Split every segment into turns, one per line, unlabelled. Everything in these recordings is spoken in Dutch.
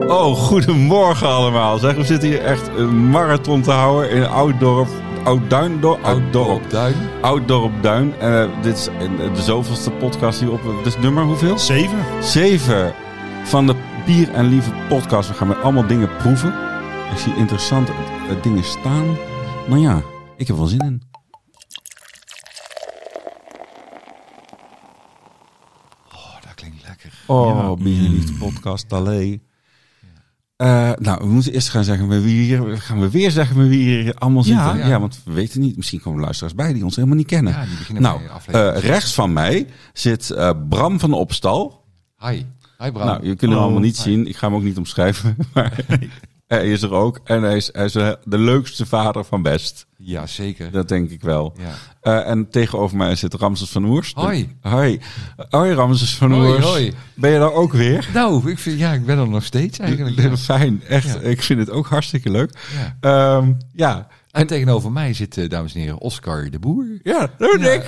Oh, goedemorgen allemaal. Zeg, we zitten hier echt een marathon te houden in Ouddorp. Oud-Duindorp? Oud-Dorp.
Op Duin.
Oud-Dorp-Duin. En eh, dit is eh, de zoveelste podcast die op... Dit is nummer hoeveel?
Zeven.
Zeven van de Bier en Lieve podcast. We gaan met allemaal dingen proeven. Ik zie interessante eh, dingen staan. Nou ja, ik heb wel zin in.
Oh, dat klinkt lekker.
Oh, Bier en Lieve podcast, allee. Eh, nou, we moeten eerst gaan zeggen met wie hier... Gaan we weer zeggen met wie hier allemaal zitten? Ja,
ja.
want we weten niet. Misschien komen luisteraars bij die ons helemaal niet kennen.
Ja, die beginnen
nou,
bij aflevering
eh, rechts van mij zit eh, Bram van de Opstal.
Oh. Hi. Hi Bram.
Nou, je kunt hem
Oh,
allemaal niet zien. Ik ga hem ook niet omschrijven. Maar hij is er ook. En hij is, hij is eh, de leukste vader van Best.
ja, zeker.
Dat denk ik wel.
Ja.
Eh, en tegenover mij zit Ramses van Oers.
Hoi.
Hoi. Hoi Ramses van
Hoi,
Oers.
hoi.
Ben je daar ook weer?
Nou, ik, vind, ja, ik ben er nog steeds eigenlijk. ja.
Fijn. Echt.
Ja.
Ik vind het ook hartstikke leuk.
Ja.
Ja. ja.
En tegenover mij zit, eh, dames en heren, Oscar de Boer.
Ja, dat doe ik.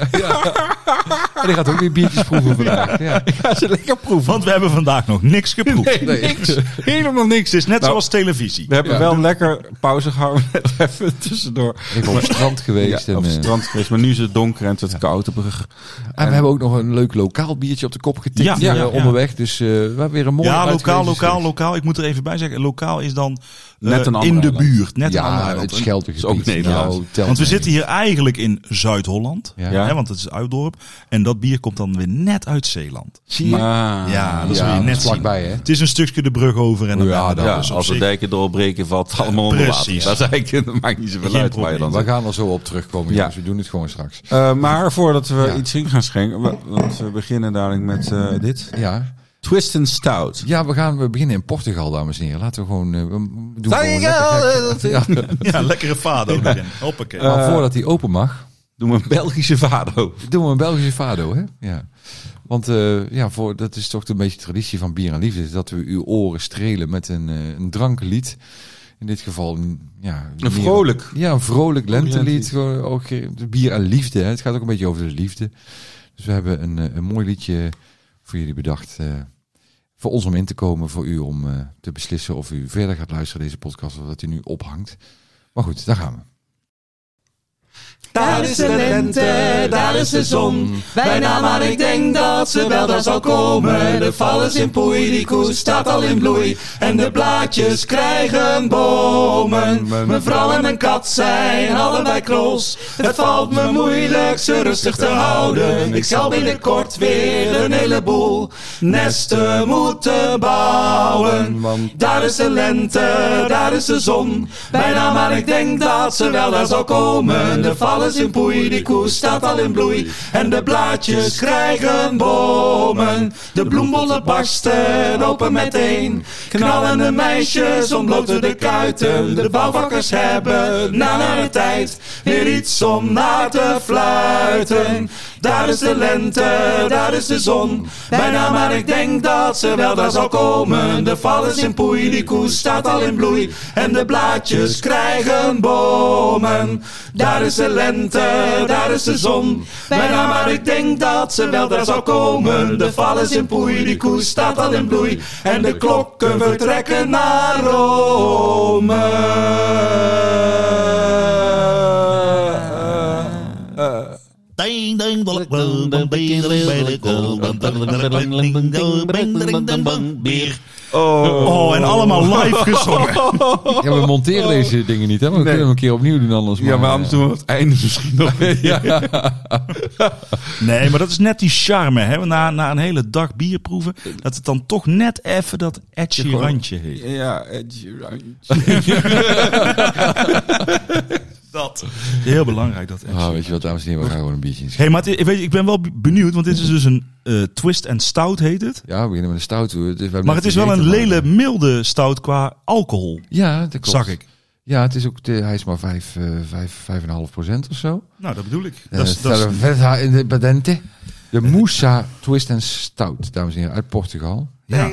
En die gaat ook weer biertjes proeven vandaag. Ja.
Ik ga ze lekker proeven.
Want we hebben vandaag nog niks geproefd.
Nee.
Helemaal niks.
Het is net
Nou,
zoals televisie.
We hebben
Ja.
wel lekker pauze gehouden. Even tussendoor.
Ik ben op het strand geweest.
Ja,
en,
op het
eh,
strand geweest. Maar nu is het donker en het wordt koud op een ge-
en we hebben ook nog een leuk lokaal biertje op de kop getikt
Ja, ja,
eh,
ja.
onderweg. Dus eh, we hebben weer een mooie
ja,
uitgever
lokaal, lokaal,
geweest.
lokaal. Ik moet er even bij zeggen. Lokaal is dan eh,
Net een ander
in de
eiland.
buurt. Net een ander
Ja,
eiland.
het Scheldegebied.
is ook Nederlands.
Nou, telt
Want we
mee.
zitten hier eigenlijk in Zuid-Holland.
Ja.
Hè, want het is Uitdorp. En dat bier komt dan weer net uit Zeeland.
Zie je?
Ah.
ja, dat
ja,
wil je
dat
net
is vlakbij,
zien.
hè?
Het is een stukje de brug over. En dan
Ja, dat
Ja,
is
dus op
als de
zich
dijken doorbreken valt het allemaal onder water.
Precies.
Dat, is eigenlijk, dat maakt niet zoveel
Geen
uit waar je dan
probleem.
We
zit.
gaan er zo op terugkomen,
Ja.
jongens. We doen het gewoon straks.
Eh, maar voordat we
Ja.
iets in gaan schenken, we- want we beginnen dadelijk met eh, dit.
Ja,
Twist and Stout.
ja we gaan we beginnen in Portugal, dames en heren. Laten we gewoon... eh, we doen
Daar
gewoon
je wel,
lekker gek. Ja.
Ja, lekkere fado. erin. Hoppakee.
Maar voordat hij open mag,
Doen we een Belgische vado.
doen we een Belgische fado, hè? Ja. Want eh, ja, voor, dat is toch een beetje traditie van Bier en Liefde. is Dat we uw oren strelen met een, eh een dranklied. In dit geval, mm, ja... meer-
Een vrolijk.
Ja, een vrolijk lentelied.
lentelied.
Gewoon Ook eh, bier en liefde. Hè. Het gaat ook een beetje over de liefde. Dus we hebben een, eh, een mooi liedje voor jullie bedacht. eh, voor ons om in te komen. Voor u om eh, te beslissen of u verder gaat luisteren deze podcast. Of dat u nu ophangt. Maar goed, daar gaan we.
Daar is de lente, daar is de zon. Bijna maar ik denk dat ze wel daar zal komen. De val is in poei, die koes staat al in bloei. En de blaadjes krijgen bomen. Mijn vrouw en mijn kat zijn allebei kroos. Het valt me moeilijk ze rustig te houden. Ik zal binnenkort weer een heleboel nesten moeten bouwen. Daar is de lente, daar is de zon. Bijna maar ik denk dat ze wel daar zal komen. De val is in poei, die koe staat al in bloei. En de blaadjes krijgen bomen. De bloembollen barsten open meteen. Knallen de meisjes ontbloten de kuiten. De bouwvakkers hebben na naar de tijd weer iets om naar te fluiten. Daar is de lente, daar is de zon. Bijna maar ik denk dat ze wel daar zal komen. De val is in poei, die koes staat al in bloei. En de blaadjes krijgen bomen. Daar is de lente, daar is de zon. Bijna maar ik denk dat ze wel daar zal komen. De val is in poei, die koes staat al in bloei. En de klokken vertrekken naar Rome.
Ding, ding, dong, dong, dong, ding, dong, ding, dong, dong, dong, dong, dong, ding, dong, ding, ding, dong, dong, Bier. Oh, en allemaal live gezongen.
Ja, we monteren deze dingen niet, hè? Maar we kunnen hem een keer opnieuw doen anders.
Ja, maar anders
eh,
doen we het einde misschien nog weer.
Nee, maar dat is net die charme. Hè? Na, na een hele dag bier proeven, dat het dan toch net even dat edgy randje heeft.
Ja, Ed
Dat. Heel belangrijk, dat edgy.
ah, weet je wat, dames en heren, we gaan gewoon een biertje in.
hey, maar het- ik, weet, ik ben wel benieuwd, want dit is dus een eh, twist en stout heet het.
Ja, we beginnen met een stout. hoor. Dus we hebben
Maar
net
het is wel
gegeten,
een
maar-
lele milde stout qua alcohol,
Ja, dat klopt.
zag ik.
Ja, het is ook, de, hij is maar 5, eh 5, 5,5 procent of zo.
Nou, dat bedoel ik.
Dat
Dat is, dat is-
Eh, in de patente. De Moussa Twist and Stout, dames en heren, uit Portugal.
ja.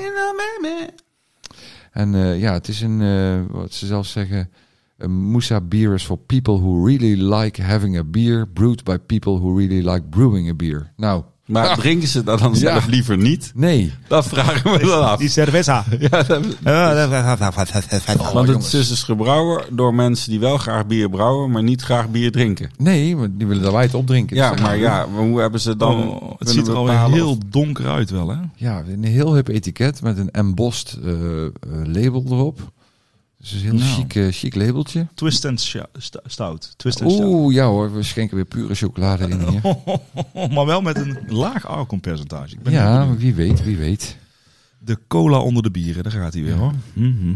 En eh, ja, het is een, eh, wat ze zelf zeggen, een Moussa beer is for people who really like having a beer, brewed by people who really like brewing a beer. Nou,
Maar drinken ze dat dan zelf
Ja.
liever niet?
Nee.
Dat vragen we dan af.
Die cerveza. Ja,
Want
jongens.
het is dus gebrouwen door mensen die wel graag bier brouwen, maar niet graag bier drinken.
Nee, maar die willen daar wij het opdrinken.
Ja,
Dus dan
maar
gaan we-
ja, maar hoe hebben ze dan...
Oh, het
kunnen
ziet er alweer
bepalen of-
heel donker uit wel, hè?
Ja, een heel hip etiket met een embossed eh, eh, label erop. Dus een heel
Nou.
chic, eh, chic labeltje.
Twist and sha- sta- stout. Twist and stout.
Oeh, ja hoor, we schenken weer pure chocolade in hier.
Oh, maar wel met een laag alcoholpercentage. Ik ben heel
Ja,
benieuwd.
wie weet, wie weet.
De cola onder de bieren, daar gaat hij weer hoor.
Mhm.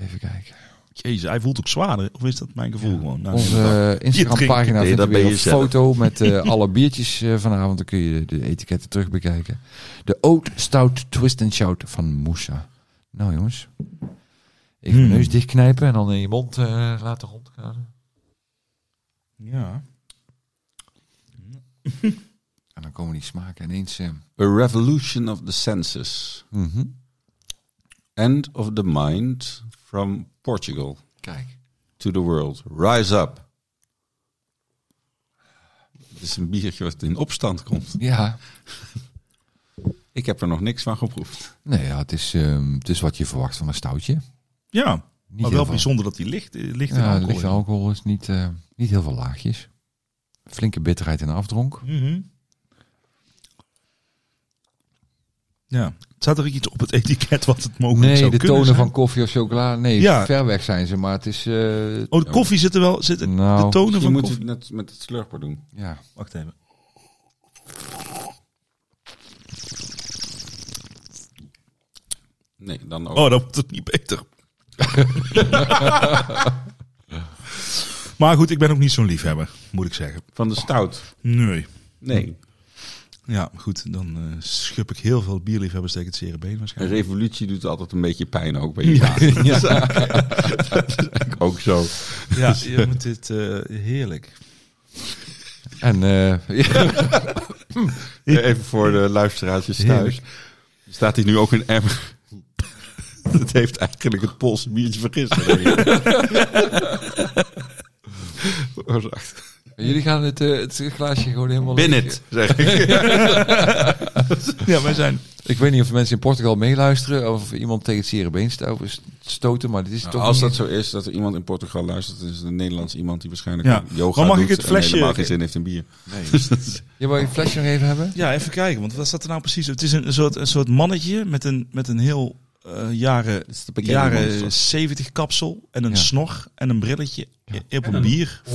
Even kijken.
Jezus, hij voelt ook zwaarder. Of is dat mijn gevoel gewoon? Nou,
Onze
inderdaad.
eh, Instagram-pagina
Nee,
vindt
dat
er weer
ben
een
je zelf.
foto met eh, alle biertjes eh, vanavond. Dan kun je de etiketten terug bekijken. De Oat Stout Twist and Shout van Moussa. Nou jongens, even mijn
Hmm.
neus dichtknijpen en dan in je mond eh, laten rondgaan.
ja.
En dan komen die smaken ineens... eh,
A revolution of the senses.
mhm.
End of the mind from Portugal
Kijk.
to the world. Rise up. Het is een biertje wat in opstand komt.
Ja,
Ik heb er nog niks van geproefd.
nee, ja, het, is, ehm, het is wat je verwacht van een stoutje. Niet
ja,
heel
maar wel
veel-
bijzonder dat hij licht, eh, licht in
Ja,
alcohol
lichte
is.
alcohol is niet, eh, niet heel veel laagjes. Flinke bitterheid en afdronk.
Mhm. Ja, staat er iets op het etiket wat het mogelijk
Nee,
zou
de
kunnen
tonen
zijn?
van koffie of chocola, nee,
Ja.
ver weg zijn ze. Maar het is... eh,
Oh, de koffie zit er wel. Zit er-
Nou,
de tonen
Je
van
moet
koffie.
het net met het slurper doen.
ja.
Wacht even.
Nee, dan ook.
Oh, dat wordt het niet beter. maar goed, ik ben ook niet zo'n liefhebber, moet ik zeggen.
Van de stout.
Nee.
Nee.
Ja, goed, dan eh, schup ik heel veel bierliefhebbers tegen het zere been
Een
waarschijnlijk.
revolutie doet altijd een beetje pijn ook bij je. Ja. Dat is eigenlijk- dat is eigenlijk ook zo.
Ja, je moet dit eh, heerlijk.
En eh, ja,
Even voor de luisteraartjes thuis. Staat hier nu ook een emmer. Dat heeft eigenlijk het Poolse biertje vergist. Veroorzaakt.
jullie gaan het, eh, het glaasje gewoon helemaal...
Bin
leeg-
it, zeg ik.
Ja, wij zijn.
Ik weet niet of de mensen in Portugal meeluisteren of iemand tegen het zere been sto- stoten, maar dit is toch
Nou, Als
niet-
dat zo is, dat er iemand in Portugal luistert, dan is het een Nederlands iemand die waarschijnlijk
Ja.
yoga
Maar mag
doet
ik het
en
flesje-
helemaal geen zin heeft in bier.
Je wil je flesje nog even hebben?
Ja, even kijken, want wat staat er nou precies? Het is een soort, een soort mannetje met een, met een heel eh, jaren,
is de bekende
jaren
monster.
70 kapsel en een
Ja.
snor en een brilletje op een,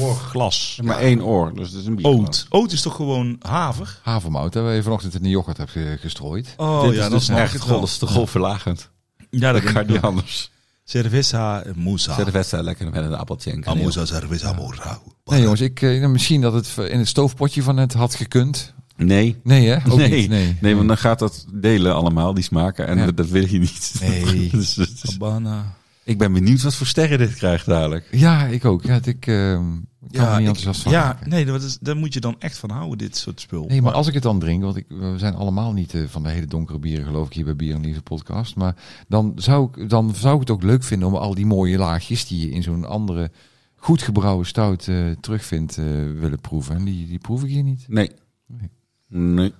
bierglas.
Maar één oor, dus dat is een bier.
Oot. Oot is toch gewoon haver?
Havermout hebben we vanochtend in de yoghurt heb ge- gestrooid.
Oh
Dit
ja,
is
dat
dus
snap ik
echt
het wel.
golfverlagend. verlagend.
Ja,
Dat
dat
kan
kan
niet
je.
anders.
Cerveza eh, musa.
Zet de wedstrijd lekker met een appeltje en kaneel.
Amusa cerveza morau.
Nee jongens, ik, eh, nou, misschien dat het in het stoofpotje van het had gekund.
Nee.
Nee hè? Ook
nee.
niet. Nee.
nee, want dan gaat dat delen allemaal, die smaken. En
Ja.
dat, dat wil je niet.
Nee.
Dus het is-
Habana.
ik ben benieuwd wat voor sterren dit krijgt dadelijk.
Ja, ik ook. Ja, het- ik ehm, ik kan er niet enthousiast van
Ja,
raken.
nee, dat is, daar moet je dan echt van houden, dit soort spul.
Nee, maar als ik het dan drink, want ik, we zijn allemaal niet eh, van de hele donkere bieren, geloof ik, hier bij Bier en Liefde podcast. Maar dan zou, ik, dan zou ik het ook leuk vinden om al die mooie laagjes die je in zo'n andere goed gebrouwen stout eh, terugvindt, eh, willen proeven. En die, die proef ik hier niet.
Nee.
Nee.
Nee.
Een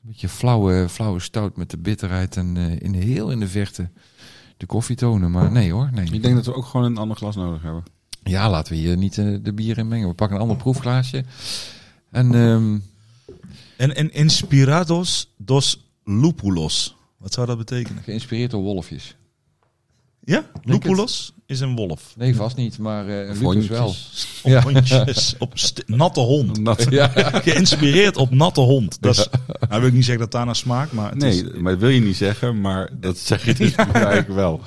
beetje flauwe, flauwe stout met de bitterheid en eh, in, heel in de verte de koffietonen. Maar nee hoor, nee.
Ik denk dat we ook gewoon een ander glas nodig hebben.
Ja, laten we hier niet eh, de bier in mengen. We pakken een ander proefglaasje. En ehm,
En, en inspirados dos lupulos. Wat zou dat betekenen?
geïnspireerd door wolfjes.
Ja,
het.
lupulos is een wolf.
Nee, vast niet, maar eh
Of
Lucas wel.
hondjes.
Op
Ja.
hondjes, op st- natte hond.
Ja.
Geïnspireerd op natte hond. Dat is, nou wil ik niet zeggen dat daar naar smaakt, maar het
Nee,
is
maar dat wil je niet zeggen, maar dat zeg je dus eigenlijk wel.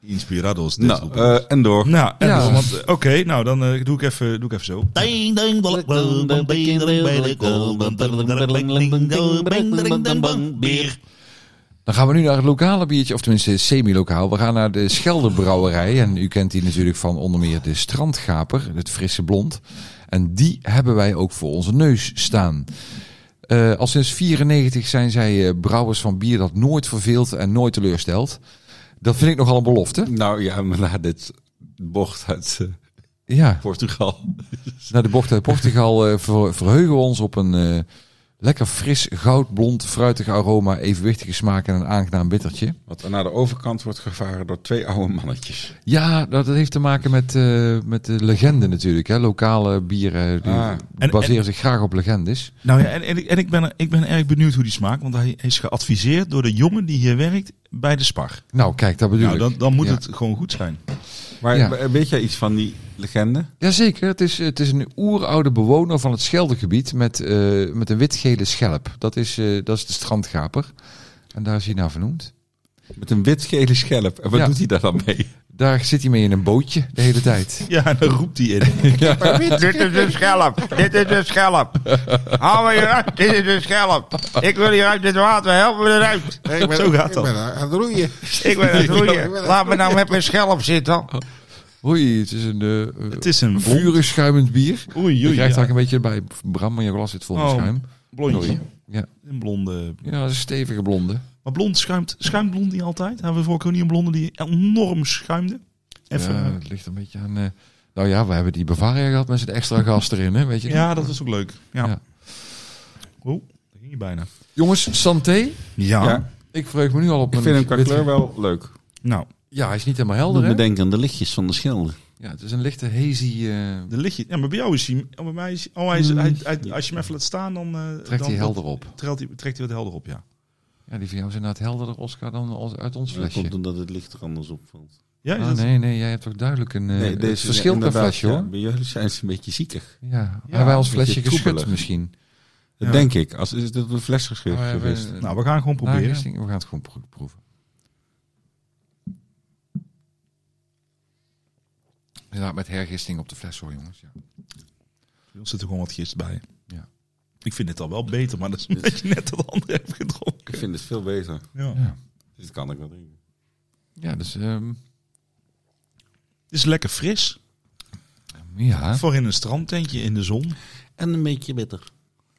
inspirados des
Nou,
lupulos.
eh, en door.
nou, en
ja.
dan, want, eh, oké, nou dan eh, doe, ik even, doe ik even zo.
Bier.
Dan gaan we nu naar het lokale biertje, of tenminste semi-lokaal. We gaan naar de Scheldebrouwerij. En u kent die natuurlijk van onder meer de Strandgaper, het frisse blond. En die hebben wij ook voor onze neus staan. Eh, al sinds 94 zijn zij eh, brouwers van bier dat nooit verveelt en nooit teleurstelt. Dat vind ik nogal een belofte.
Nou ja, maar na dit bocht uit eh,
Ja.
Portugal.
Naar de bocht uit Portugal eh, ver- verheugen we ons op een, eh, Lekker fris, goudblond, fruitig aroma, evenwichtige smaak en een aangenaam bittertje.
Wat naar de overkant wordt gevaren door twee oude mannetjes.
Ja, dat dat heeft te maken met, eh, met de legende natuurlijk. Hè. Lokale bieren eh, die
Ah.
En-
baseren zich graag op legendes.
Nou ja, en, en, ik- en ik, ben, ik ben erg benieuwd hoe die smaakt. Want hij is geadviseerd door de jongen die hier werkt bij de Spar.
Nou, kijk, dat bedoel
Nou,
ik.
dan, dan moet
Ja.
het gewoon goed zijn.
Maar
Ja.
eh, weet jij iets van die legende?
Jazeker, het is, het is een oeroude bewoner van het Scheldegebied met, eh, met een witgele schelp. Dat is, eh, dat is de strandgaper. En daar is hij naar vernoemd.
Met een wit-gele schelp. En wat
Ja.
doet hij daar dan mee?
Daar zit hij mee in een bootje de hele tijd.
Ja, en dan roept hij in.
Dit is dus een schelp. Dit is een schelp. Haal me hieruit. Dit is een schelp. Ik wil hier uit dit water. Help me eruit.
Ik ben,
Zo gaat dat.
Ik ben aan het roeien.
Ik ben aan het roeien. Laat me nou met mijn schelp zitten.
Oei, het is een, eh,
Het is een blond.
vurig schuimend bier.
Oei,
Je
oei.
krijgt
ja.
daar een beetje bij. Bram, maar je glas zit vol met
Oh.
schuim.
blondje.
Ja.
Een blonde.
Ja, dat is een stevige blonde.
Maar blond schuimt, schuimt blond die altijd? Hebben we vorige keer niet een blonde die enorm schuimde? Even,
Ja,
ja,
het ligt een beetje aan... eh, nou ja, we hebben die Bavaria gehad met zijn extra gas erin, hè, weet je.
dat was ook leuk. Ja.
Ja.
Oeh, dat ging je bijna.
Jongens, santé.
Ja.
Ja.
Ik verheug me nu al op
Ik
een...
vind hem qua
wit-
kleur wel leuk.
Nou,
Ja, hij is niet helemaal
Doet
helder,
me
hè?
denken aan de lichtjes van de schilder.
Ja, het is een lichte hazy... eh,
de lichtje. Ja, maar bij jou is hij... oh, bij mij is, oh, hij is, hij, hij- als je hem even laat staan, dan... eh,
trekt
dan,
hij helder op.
Trekt hij, trekt hij wat helder op, ja.
Ja, die van jou zijn inderdaad helderder, Oscar, dan ons- uit ons
Dat komt
flesje.
omdat het licht er anders opvalt.
Ja, is
Ah,
dat-
nee, nee, jij hebt toch duidelijk een eh, het verschil per
inderdaad,
flesje,
ja,
hoor.
bij jullie zijn ze een beetje zieker.
Ja,
Ja,
hebben wij ons
een beetje
flesje geschud
troebelig.
misschien?
Dat
Ja.
denk ik. Als is het op een fles
Oh, Maar we
geschreven
hebben
geweest.
een
Nou, we gaan
Ah,
gewoon proberen.
nagisting. We gaan het gewoon pro- proeven. Inderdaad, met hergisting op de fles hoor, jongens. Ja.
Bij ons zit er gewoon wat gist bij.
Ja. Dus-
Ik vind dit al wel beter, maar dat is een beetje net wat andere heeft gedronken.
Ik vind het veel beter.
Ja.
Ja.
Dit kan ik wel drinken.
Ja, dus ehm,
Het is lekker fris.
ja,
Voor in een strandtentje in de zon.
En een beetje bitter.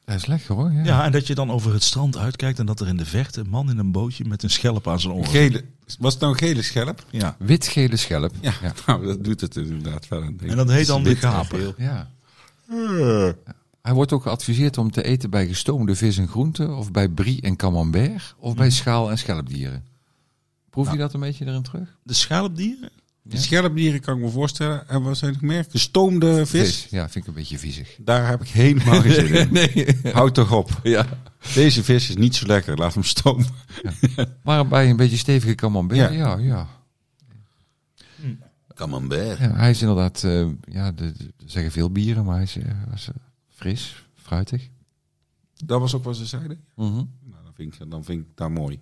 hij is lekker hoor. Ja.
Ja, en dat je dan over het strand uitkijkt en dat er in de verte een man in een bootje met een schelp aan zijn oren.
Gele, was het nou een gele schelp?
Ja.
Wit-gele schelp.
Ja, nou, dat doet het inderdaad wel aan
En dat heet dan de gaper.
geel.
Ja.
Eh.
Hij wordt ook geadviseerd om te eten bij gestoomde vis en groenten, of bij brie en camembert, of
Mhm.
bij schaal- en schelpdieren. Proef
Nou.
je dat een beetje erin terug?
De schelpdieren?
Die schelpdieren kan ik me voorstellen. En wat zijn er nog meer? Gestoomde vis.
Ja, vind ik een beetje viezig.
Daar heb ik helemaal geen zin in. Houd toch op.
Ja.
Deze vis is niet zo lekker. Laat hem stomen.
Maar bij een beetje stevige camembert,
Ja.
ja, ja.
Camembert.
Ja, hij is inderdaad, eh, ja, de, de- er zeggen veel bieren, maar hij is, eh, hij is, eh, fris, fruitig.
Dat was ook wat ze zeiden.
Mhm.
Nou, dan vind ik, dan vind ik daar mooi.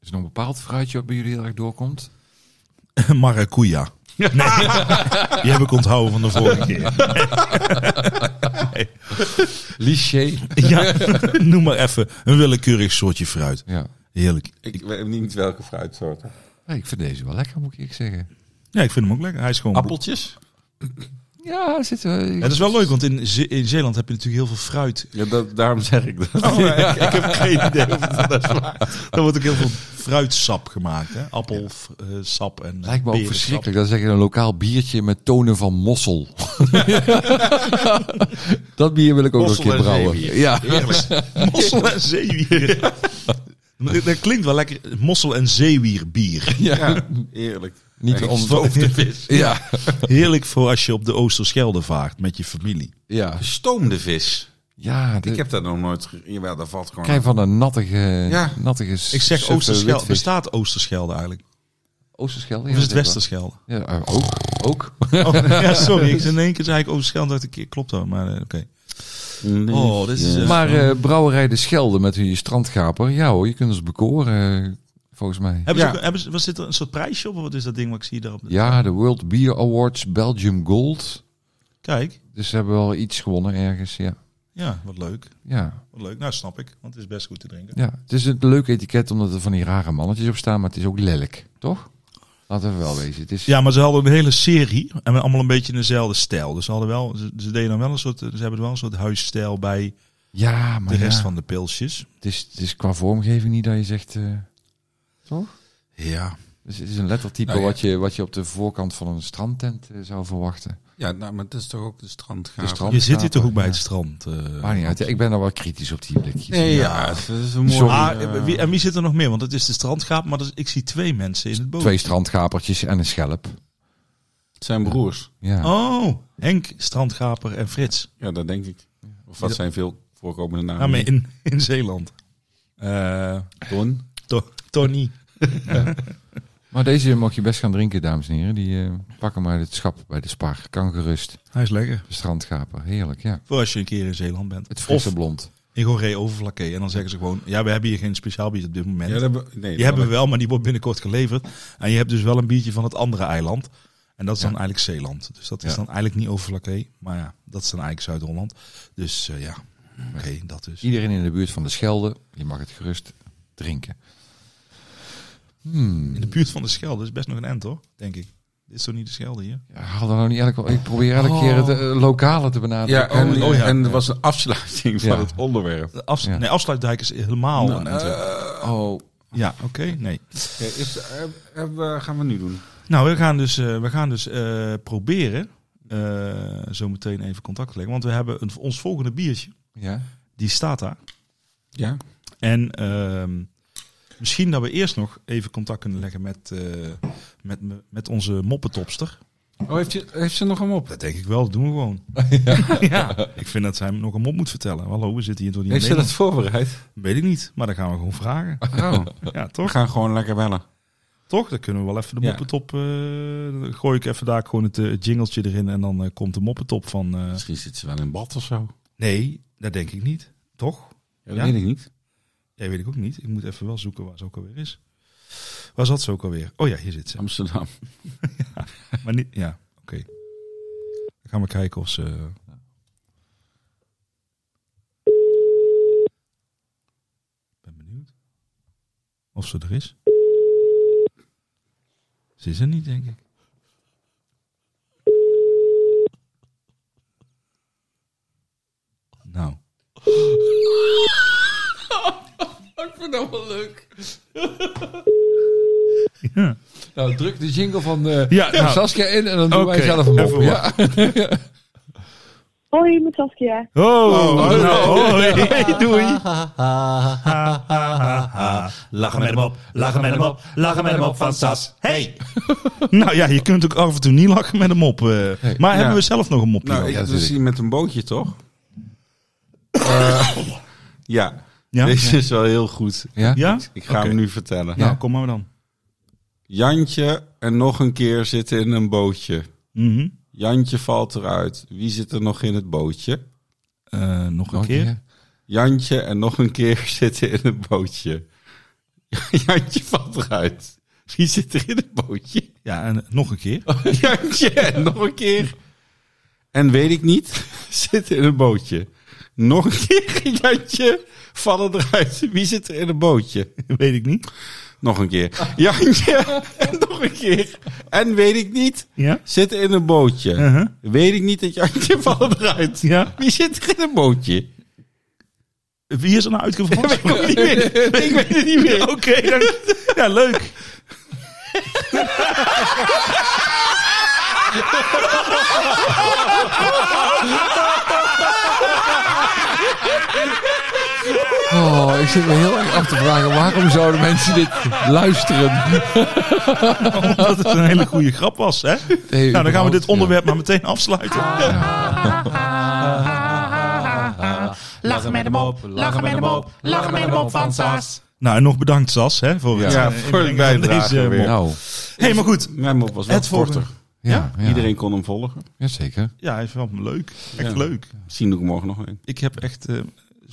Is er nog een bepaald fruitje wat bij jullie heel erg doorkomt?
Maracuja. Nee, die heb ik onthouden van de vorige keer.
Liché.
Ja, noem maar even een willekeurig soortje fruit.
Ja.
Heerlijk.
Ik weet niet welke fruitsoorten.
Nee, ik vind deze wel lekker, moet ik eerlijk zeggen.
Ja, ik vind hem ook lekker. Hij is gewoon...
Appeltjes?
Ja, er zit wel.
Ja, dat is wel leuk, want in, Ze- in Zeeland heb je natuurlijk heel veel fruit.
Ja, dat, daarom zeg ik dat.
Oh, ik, ik heb geen idee of het dat slaat. Er wordt ook heel veel fruitsap gemaakt. Hè? Appelsap en eh,
Lijkt me ook
perensap.
verschrikkelijk. Dan zeg je een lokaal biertje met tonen van mossel. dat bier wil ik ook
Mossel
nog een
en
keer brouwen.
zeewier.
Ja.
Mossel en zeewier. Dat- Dat klinkt wel lekker. Mossel en zeewierbier.
Ja, eerlijk.
Niet
Nee,
om-
gestoofde vis.
Ja.
Heerlijk voor als je op de Oosterschelde vaart met je familie.
Ja.
Gestoomde vis.
Ja. de-
Ik heb dat nog nooit... ge- Jawel, dat valt gewoon...
Krijg van een nattige,
Ja.
nattige
Ik zeg
suffe
Oosterschelde.
witvis.
Bestaat Oosterschelde eigenlijk?
Oosterschelde?
Of
ja,
is het
zeker.
Westerschelde?
Ja, eh, ook. Ook.
Oh, ja, sorry. Ik zei in één keer zei ik Oosterschelde. dacht ik, klopt dat. Maar eh, oké.
Nee.
Oh, dit is... eh,
Maar eh, brouwerij De Schelde met die strandgaper. Ja hoor, je kunt ons bekoren, eh, volgens mij.
hebben ze
ja.
ook- hebben ze, wat zit er een soort prijsje op? Of Wat is dat ding wat ik zie daarop?
Ja, de World Beer Awards, Belgium Gold.
Kijk.
Dus ze hebben wel iets gewonnen ergens, ja.
Ja, wat leuk.
Ja,
Wat leuk. Nou, snap ik. Want het is best goed te drinken.
ja. het is een leuk etiket omdat er van die rare mannetjes op staan, maar het is ook lelijk, toch? Laten we wel wezen. Het is,
Ja, maar ze hadden een hele serie en allemaal een beetje in dezelfde stijl. Dus ze hadden wel, ze, ze deden dan wel een soort, eh, ze hebben er wel een soort huisstijl bij
Ja,
de
maar
rest
ja,
van de pilsjes.
het, is, het is qua vormgeving niet dat je zegt... eh, toch?
Ja.
Dus het is een lettertype
Nou ja.
wat, je, wat je op de voorkant van een strandtent eh, zou verwachten.
Ja, nou, maar dat is toch ook de strandgaaf?
De strand-
Ja.
Je
Je
zit
zit
hier toch
hier toch
ook Ah,
ook
bij
bij
het
het strand? eh?
Maar niet uit, ik ben al wel kritisch op die blikjes.
Nee, ja, het is een mooi...
Sorry.
eh,
Ah, eh, wie, en wie zit er nog meer? Want het is de strandgaap, maar dus, ik zie twee mensen in het boot.
Twee strandgapertjes en een schelp.
het zijn broers.
Ja.
Oh, Henk, strandgaper en Frits.
Ja, dat denk ik. Of wat zijn veel voorkomende namen?
Ja, Ah, maar in, in Zeeland.
Eh, Don?
To- Tony.
Maar deze mag je best gaan drinken, dames en heren. Die eh pakken maar het schap bij de spar. Kan gerust.
Hij is lekker.
De strandgaper, heerlijk, ja.
Voor als je een keer in Zeeland bent.
Het frisse
of
blond.
in Goree Overflakke. En dan zeggen ze gewoon, ja, we hebben hier geen speciaal bier op dit moment.
Ja, dat hebben, nee, dat
die hebben we
wel.
wel, maar die wordt binnenkort geleverd. En je hebt dus wel een biertje van het andere eiland. En dat is dan eigenlijk Zeeland. Dus dat is
Ja.
dan eigenlijk niet Overflakke. Maar ja, dat is dan eigenlijk Zuid-Holland. Dus eh, ja, oké, dat dus.
Iedereen in de buurt van de Schelde, je mag het gerust drinken. Hmm.
In de buurt van de Schelde is best nog een end hoor, denk ik. Dit is toch niet de Schelde hier?
Ja, Haal er nou niet elke... Ik probeer elke keer het eh, lokale te benaderen.
Ja, en,
Oh, ja.
en er was een afsluiting
Ja.
van het onderwerp. Nou,
De afs-
Ja.
Nee, Afsluitdijk is helemaal een end.
oh.
ja, oké, nee.
Oké, is- eh, eh, we- gaan we nu doen?
Nou, we gaan dus, eh, we gaan dus eh, proberen eh, zo meteen even contact te leggen. Want we hebben een, ons volgende biertje,
Ja?
die staat daar.
Ja.
En ehm, misschien dat we eerst nog even contact kunnen leggen met, eh, met, me- met onze moppetopster.
Oh, heeft, je, heeft ze nog hem op?
Dat denk ik wel, dat doen we gewoon. ja. ik vind dat zij hem nog een mop moet vertellen. Hallo, we zitten hier door die
Heeft ze dat voorbereid?
Weet ik niet, maar dan gaan we gewoon vragen.
Oh,
Ja,
we
toch?
gaan gewoon lekker bellen.
Toch? Dan kunnen we wel even de
Ja.
moppetop... eh, dan gooi ik even daar gewoon het eh, jingletje erin en dan eh, komt de moppetop van... eh,
Misschien zit ze wel in bad of zo.
Nee, dat denk ik niet. Toch?
Ja, dat
Ja?
weet ik niet.
Ja, weet ik ook niet. Ik moet even wel zoeken waar ze ook alweer is. Waar zat ze ook alweer? Oh ja, hier zit ze.
Amsterdam.
Maar niet, ja, oké. Dan gaan we kijken of ze... ben benieuwd. Of ze er is. Ze is er niet, denk ik. Nou. Ik vind dat wel leuk. Ja.
Nou, druk de jingle van eh,
Ja, nou.
Saskia in en dan doen wij
Oké,
zelf een mop.
even
Ja.
Hoi, met Saskia.
Oh, nou, hoi. doei.
Lachen met hem op, lachen met hem op, lachen met hem op van Sas. Hey!
Nou ja, je kunt ook af en toe niet lachen met een mop. eh. maar hebben we zelf nog een mopje?
Nou,
dan?
ik, we
natuurlijk.
zien met een bootje, toch? Eh, ja.
ja?
Deze is wel heel goed.
Ja?
ja?
Ik ga
Oké.
hem nu vertellen.
Nou, kom maar dan.
Jantje en nog een keer zitten in een bootje.
Mhm.
Jantje valt eruit. Wie zit er nog in het bootje?
Eh, nog een
Oh,
keer.
ja.
Jantje en nog een keer zitten in een bootje. Jantje valt eruit. Wie zit er in het bootje?
Ja, en eh, nog een keer.
Jantje en nog een keer. En weet ik niet, zitten in een bootje. Nog een keer Jantje, vallen eruit. Wie zit er in een bootje?
Weet ik niet.
Nog een keer. Jantje en nog een keer. En weet ik niet,
Ja?
zitten in een bootje.
Uh-huh.
Weet ik niet dat Jantje vallen eruit.
Ja?
Wie zit er in een bootje?
Wie is er nou uitgevallen?
Ik weet het niet meer. Ik weet het niet meer.
Oké, dank- ja, leuk.
Oh, ik zit me heel erg af te vragen, waarom zouden mensen dit luisteren?
Omdat het een hele goede grap was, hè?
Nee,
Nou, dan gaan we
überhaupt,
dit onderwerp maar meteen afsluiten.
Lachen met hem op, lachen met hem op, lachen met hem op van Sas.
Nou, en nog bedankt, Sas, hè, voor het
Ja,
eh,
voor
inbrengen
het
van
bijdragen
deze
weer.
ja.
mop.
Nou,
hey, maar goed.
Mijn mop was wel
Het volgende.
korter.
ja, ja.
Iedereen kon hem volgen.
Ja, zeker.
Ja, hij is wel leuk. Echt
Ja.
leuk.
Misschien doe ik morgen nog een.
Ik heb echt eh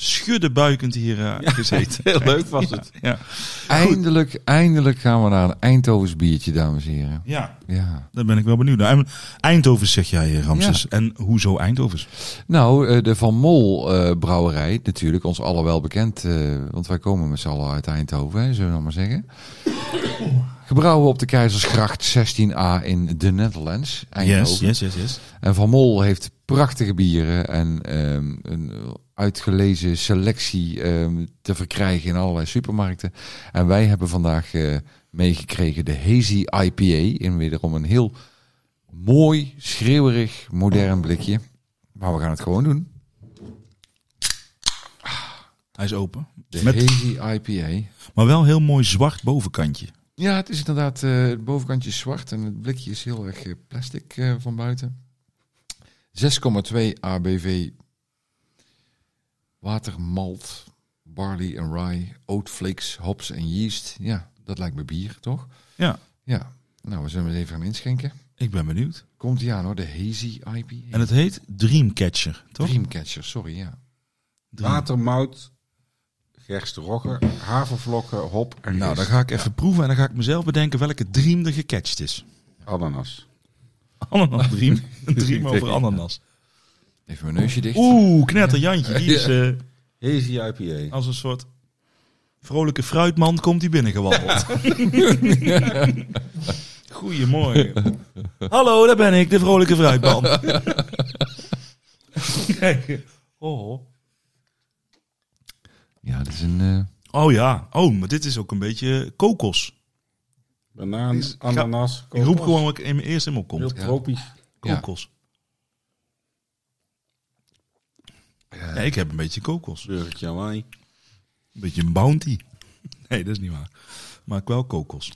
schuddebuikend hier eh, gezeten.
Heel leuk was
Ja,
het.
Ja.
Eindelijk, eindelijk gaan we naar een Eindhovens biertje, dames en heren.
ja,
Ja.
daar ben ik wel benieuwd naar. En Eindhoven zeg jij, eh, Ramses. En hoezo Eindhoven?
Nou, eh, de Van Mol eh, brouwerij, natuurlijk, ons allen wel bekend, eh, want wij komen met z'n allen uit Eindhoven, hè, zullen we dan maar zeggen. Gebrouwen op de Keizersgracht 16a in de Netherlands, Eindhoven.
yes, yes.
En Van Mol heeft prachtige bieren en ehm, een uitgelezen selectie ehm, te verkrijgen in allerlei supermarkten. En wij hebben vandaag eh, meegekregen de Hazy IPA in wederom een heel mooi, schreeuwerig, modern blikje. Maar we gaan het gewoon doen.
Hij is open.
De
Met-
Hazy IPA.
Maar wel heel mooi zwart bovenkantje.
Ja, het is inderdaad, eh, het bovenkantje is zwart en het blikje is heel erg eh, plastic eh, van buiten. 6,2 ABV. Water, malt, barley en rye, oat flakes, hops en yeast. Ja, dat lijkt me bier, toch?
Ja.
Ja, nou, we zullen het even gaan inschenken.
Ik ben benieuwd.
Komt die aan hoor, de Hazy IPA.
En het heet Dreamcatcher, toch?
Dreamcatcher, sorry, ja.
Water, mout, gerst, rokken, havervlokken, hop en
Nou, dan
gist.
ga ik even proeven en dan ga ik mezelf bedenken welke dream er gecatcht is.
Ananas.
Ananas dream. Een dream over ananas.
Even mijn neusje dicht.
Oeh, knetter Jantje. Die is eh,
Hazy IPA.
als een soort vrolijke fruitman komt hij binnengewandeld. Goedemorgen. Hallo, daar ben ik, de vrolijke fruitman. Kijk. Oh.
Ja, dat is een... eh,
oh ja, oh, maar dit is ook een beetje kokos.
Banaan, ananas,
Ik roep
kokos.
gewoon wat in mijn eerst in me opkomt.
Heel tropisch.
Ja.
Kokos. Ja, ik heb een beetje kokos.
Burgertje Hawaii.
Een beetje een bounty. Nee, dat is niet waar. Maar ik wel kokos.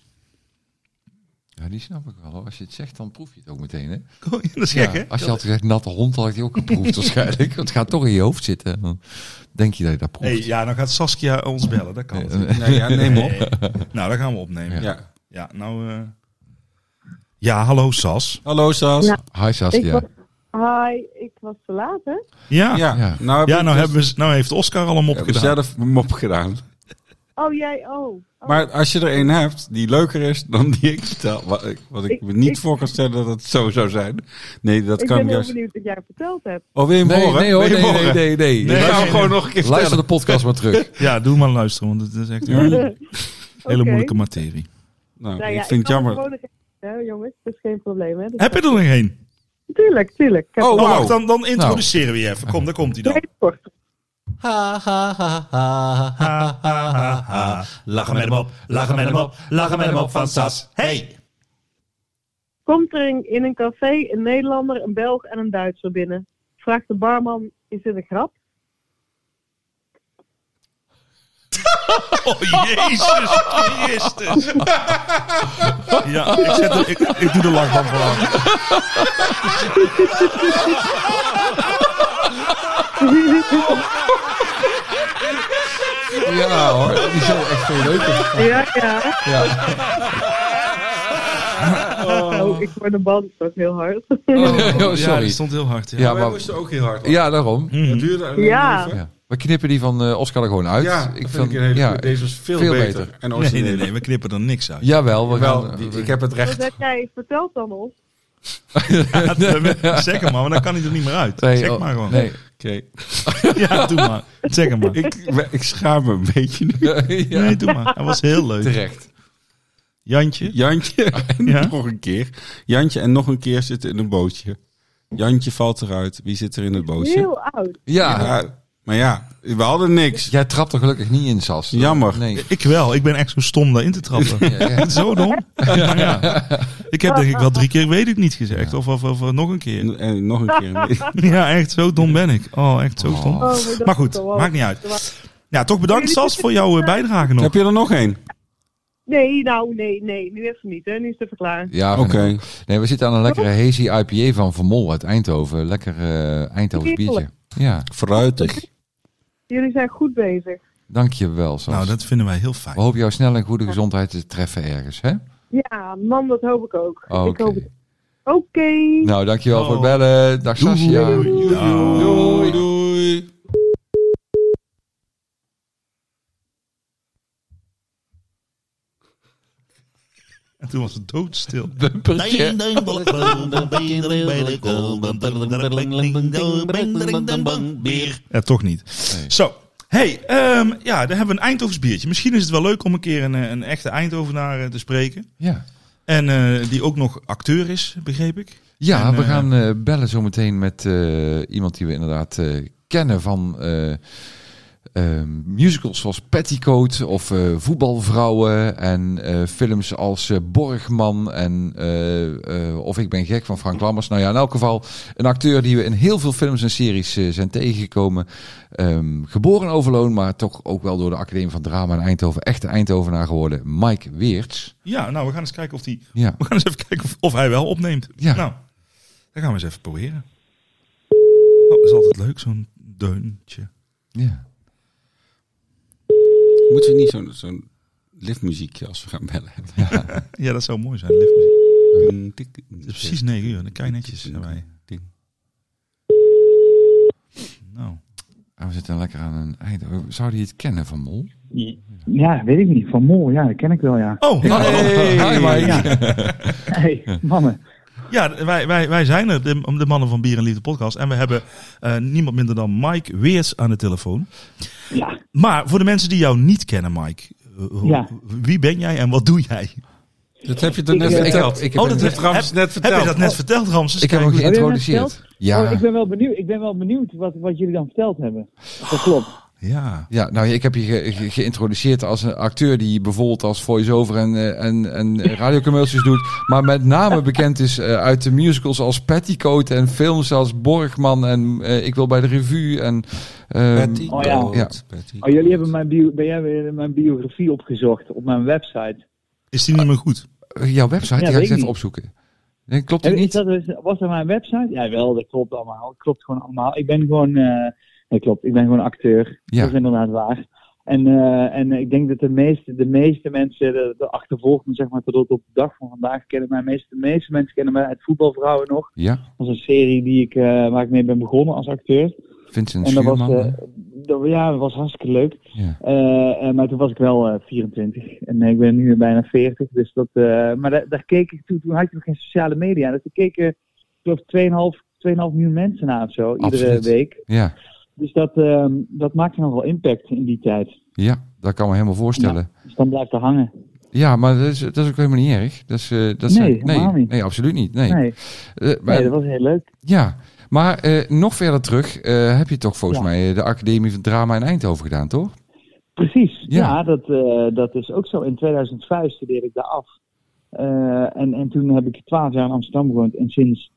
ja, die snap ik wel. hoor. Als je het zegt, dan proef je het ook meteen, hè?
Ko- dat is
Ja,
gek, hè?
Als je had gezegd natte hond, had ik die ook geproefd waarschijnlijk. Want het gaat toch in je hoofd zitten. Dan denk je dat je dat proeft.
Hey, ja, dan gaat Saskia ons bellen. Dat kan.
Eh,
natuurlijk.
Nee, ja, neem op.
Nou, dat gaan we opnemen. Ja,
Ja.
nou... eh, Ja, hallo Sas.
Hallo Saas. Ja,
Ja.
Hi
Ik
Saskia.
was, hi, ik was te laat, hè?
Ja, ja.
Ja.
nou, heb ik
nou,
dus-
hebben we, nou heeft Oscar al een mop
heb ik
gedaan.
zelf een mop gedaan.
Oh, jij, oh. oh.
Maar als je er een hebt die leuker is dan die ik vertel, wat ik, wat ik
Ik-
me niet
ik-
voor kan stellen dat het zo zou zijn. Nee, dat
ik
kan
ben
ik
heel
juist.
benieuwd wat jij verteld hebt.
Oh, wil je hem
Nee,
horen?
nee, hoor,
Wil je
nee,
hem
nee,
horen?
nee, nee.
Nee,
Nee,
gaan we
nee,
gewoon
nee.
nog een keer
Luister de
vertellen.
podcast maar terug.
Ja, doe maar luisteren, want het is echt een hele, hele
Oké.
moeilijke materie.
Nou,
Nou ja,
ik vind het
kan
jammer.
gewoon nog even- hè, jongens, dat is geen probleem, hè? Dus-
Heb je er nog een?
Tuurlijk, tuurlijk. Ik heb
Oh,
nog
Nou,
wauw.
wacht, dan, dan introduceren we je even. Kom, daar komt hij dan.
twee korte.
Lachen met hem op, lachen met hem op, lachen met hem op van Sas. Hey!
Komt er in, in een café een Nederlander, een Belg en een Duitser binnen? Vraagt de barman, is dit een grap?
Oh, Jezus Christus. Ja, ik, zet er- ik, ik doe de lachband wel aan.
Ja hoor, die zijn echt veel leuker.
Ja, ja.
Ja.
Oh, ik word de band ook heel hard.
Oh,
Ja, die
sorry.
stond heel hard. Ja.
Ja,
Wij
maar,
moesten ook heel hard.
ja daarom.
Het duurde alleen
Ja.
even.
Ja. We knippen die van eh, Oscar er gewoon uit.
Ja, ik vind ik een hele
ja,
goeie. Deze was veel,
veel
beter.
beter.
En
Nee, nee,
origineel.
nee, we knippen er niks uit.
Jawel, we
Wel,
gaan, eh,
die- ik heb het
Wat
recht.
heb jij verteld dan ons?
Zeg hem maar, want dan kan hij er niet meer uit.
Nee,
zeg
oh,
maar gewoon.
Nee.
Oké.
Ja, doe maar. Zeg hem maar.
Ik, ik schaam me een beetje nu.
Ja,
Nee, doe maar. Dat was heel leuk.
terecht.
Jantje?
Jantje en
Ja?
nog een keer. Jantje en nog een keer zitten in een bootje. Jantje valt eruit. Wie zit er in het bootje?
Heel oud.
Ja.
Ja, maar ja, we hadden niks.
Jij trapt er gelukkig niet in, Sas.
Jammer.
Nee.
Ik wel. Ik ben echt zo stom daarin te trappen.
Ja, ja.
Zo dom. Ja, ja. Ik heb denk ik wel drie keer weet ik niet gezegd. Of, of, of nog een keer.
En, en nog een keer.
Ja, echt. Zo dom ben ik. Oh, echt zo stom.
Oh, maar, dat
Maar
is
goed,
toch wel-
maakt niet uit. Ja, toch bedankt Sas voor jouw eh, bijdrage nog.
Heb je er nog één?
Nee, nou, nee, nee. Nu even niet, hè. Nu is het even klaar.
Ja,
Oké.
Nee, we zitten aan een lekkere hazy IPA van Vermol uit Eindhoven. Lekker eh Eindhovens biertje. Ja,
Fruitig.
Jullie zijn goed bezig.
dankjewel Sas.
Nou, dat vinden wij heel
We
fijn.
hopen jou snel en goede gezondheid te treffen ergens, hè?
Ja, man, dat hoop ik ook.
Oh, Oké.
Ik hoop het. Oké.
Nou, dankjewel
Oh.
voor het bellen. Dag Sasja.
Nou.
Doei, doei.
En toen was het doodstil.
Bumpertje.
Bier.
Ja, toch niet. Zo. Hey, ehm, ja, daar hebben we een Eindhovens biertje. Misschien is het wel leuk om een keer een, eh, een echte Eindhovenaar eh, te spreken.
Ja,
En eh, die ook nog acteur is, begreep ik.
ja
En,
we
eh,
gaan eh, bellen zometeen met eh, iemand die we inderdaad eh, kennen van eh, eh, musicals zoals Petticoat of eh, Voetbalvrouwen en eh, films als eh, Borgman en eh, eh, Of ik ben gek van Frank Lammers. Nou ja, in elk geval een acteur die we in heel veel films en series eh, zijn tegengekomen. Ehm, geboren in Overloon, maar toch ook wel door de Academie van Drama in Eindhoven, echte Eindhovenaar geworden, Mike Weerts.
Ja, nou, we gaan eens kijken of, die,
Ja.
we gaan eens even kijken of, of hij wel opneemt.
Ja.
Nou, dat gaan we eens even proberen. Oh, dat is altijd leuk, zo'n deuntje.
ja.
Moeten we niet zo'n zo'n liftmuziekje als we gaan bellen hebben?
Ja, dat zou mooi zijn, liftmuziek.
Ding, tik, tik,
Het is precies 9 uur, dan kijk je netjes
tik,
naar mij.
tik.
Nou,
Ah, we zitten lekker aan een Eindhoven. Zou die het kennen van Mol?
Ja, weet ik niet. Van Mol, ja, dat ken ik wel, ja.
oh, hallo.
Hi Mike.
Ja. Hey, mannen.
Ja, wij, wij, wij zijn er, de, de mannen van Bier en Liefde podcast. En we hebben eh, niemand minder dan Mike Weers aan de telefoon.
Ja,
Maar voor de mensen die jou niet kennen, Mike. eh, hoe-
Ja.
Wie ben jij en wat doe jij?
Dat heb je toch net
Ik, eh,
verteld? Ik
Oh, dat
heeft
heb-
Ramses
heb-
net verteld.
Heb je dat net verteld, Ramses?
Ik heb
Kijk,
hem
je
geïntroduceerd.
net
Ja.
Oh, ik ben wel benieuwd, ik ben wel benieuwd wat, wat jullie dan verteld hebben. Dat klopt.
Ja.
Ja, nou ik heb je ge- ge- geïntroduceerd als een acteur die bijvoorbeeld als voice-over en, eh, en, en radiocommercials doet. Maar met name bekend is eh, uit de musicals als Petticoat en films als Borgman en eh, Ik wil bij de revue. En, ehm,
Petticoat,
Oh ja.
Ja.
Petticoat.
Oh, jullie hebben mijn, bio, ben jij weer mijn biografie opgezocht op mijn website.
Is die niet meer goed?
Jouw website, die
weet
ga ik eens
ik
even
niet.
opzoeken. Nee, klopt
Heb,
het
is
niet?
dat, is- was dat mijn website? Ja, wel, dat klopt allemaal. Dat klopt gewoon allemaal. Ik ben gewoon, eh dat klopt, ik ben gewoon acteur.
Ja.
Dat is inderdaad waar. En, eh, en ik denk dat de meeste, de meeste mensen, de, de achtervolging zeg maar, tot op de dag van vandaag kennen mij. meest- De meeste mensen kennen mij uit Voetbalvrouwen nog.
Ja,
Dat was een serie die ik, eh, waar ik mee ben begonnen als acteur.
Vincent
En dat was,
Schuurman.
eh,
hè?
dat, ja, dat was hartstikke leuk.
ja.
Eh, eh, maar toen was ik wel eh, 24 en ik ben nu bijna 40. Dus dat, eh, maar daar, daar keek ik toen, toen had je nog geen sociale media. Dus er keken, ik geloof, 2,5 2,5 miljoen mensen naar of zo, iedere
Absoluut.
week.
ja,
Dus dat, eh, dat maakte nog wel impact in die tijd.
ja, dat kan me helemaal voorstellen.
Dus dan blijft er hangen.
Ja, maar dat is, dat is ook helemaal niet erg. Dat is, eh, dat is-
Nee,
nee,
helemaal niet.
nee, absoluut niet. Nee.
Nee, nee,
Eh, maar-
dat was heel leuk.
Ja, maar eh, nog verder terug eh, heb je toch volgens
Ja.
mij eh, de Academie van Drama in Eindhoven gedaan, toch?
Precies,
Ja.
ja, dat, eh, dat is ook zo. In 2005 studeerde ik daar af. Eh, en, en toen heb ik 12 jaar in Amsterdam gewoond. En sinds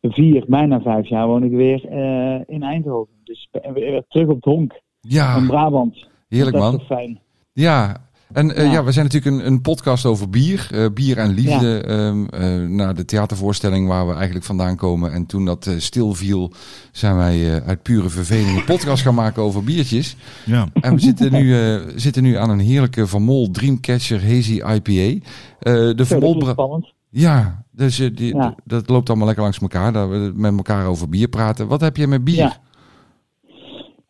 vier, bijna vijf jaar, woon ik weer eh, in Eindhoven. Dus ik ben weer terug op het honk. in
Ja,
Brabant.
Ah,
Dus
heerlijk
dat is
man.
toch fijn.
Ja. En eh, ja.
Ja.
we zijn natuurlijk een, een podcast over bier. eh, bier en liefde. ehm eh, naar de theatervoorstelling waar we eigenlijk vandaan komen. En toen dat eh, stilviel, zijn wij eh, uit pure verveling een podcast gaan maken over biertjes.
Ja.
En we zitten nu, eh, zitten nu aan een heerlijke Van Mol Dreamcatcher Hazy IPA. Eh, de
Zo,
Van
dat
Mol...
is
bra-
spannend.
Ja, dus eh, die,
Ja.
d- dat loopt allemaal lekker langs elkaar. Dat we met elkaar over bier praten. Wat heb je met bier?
Ja.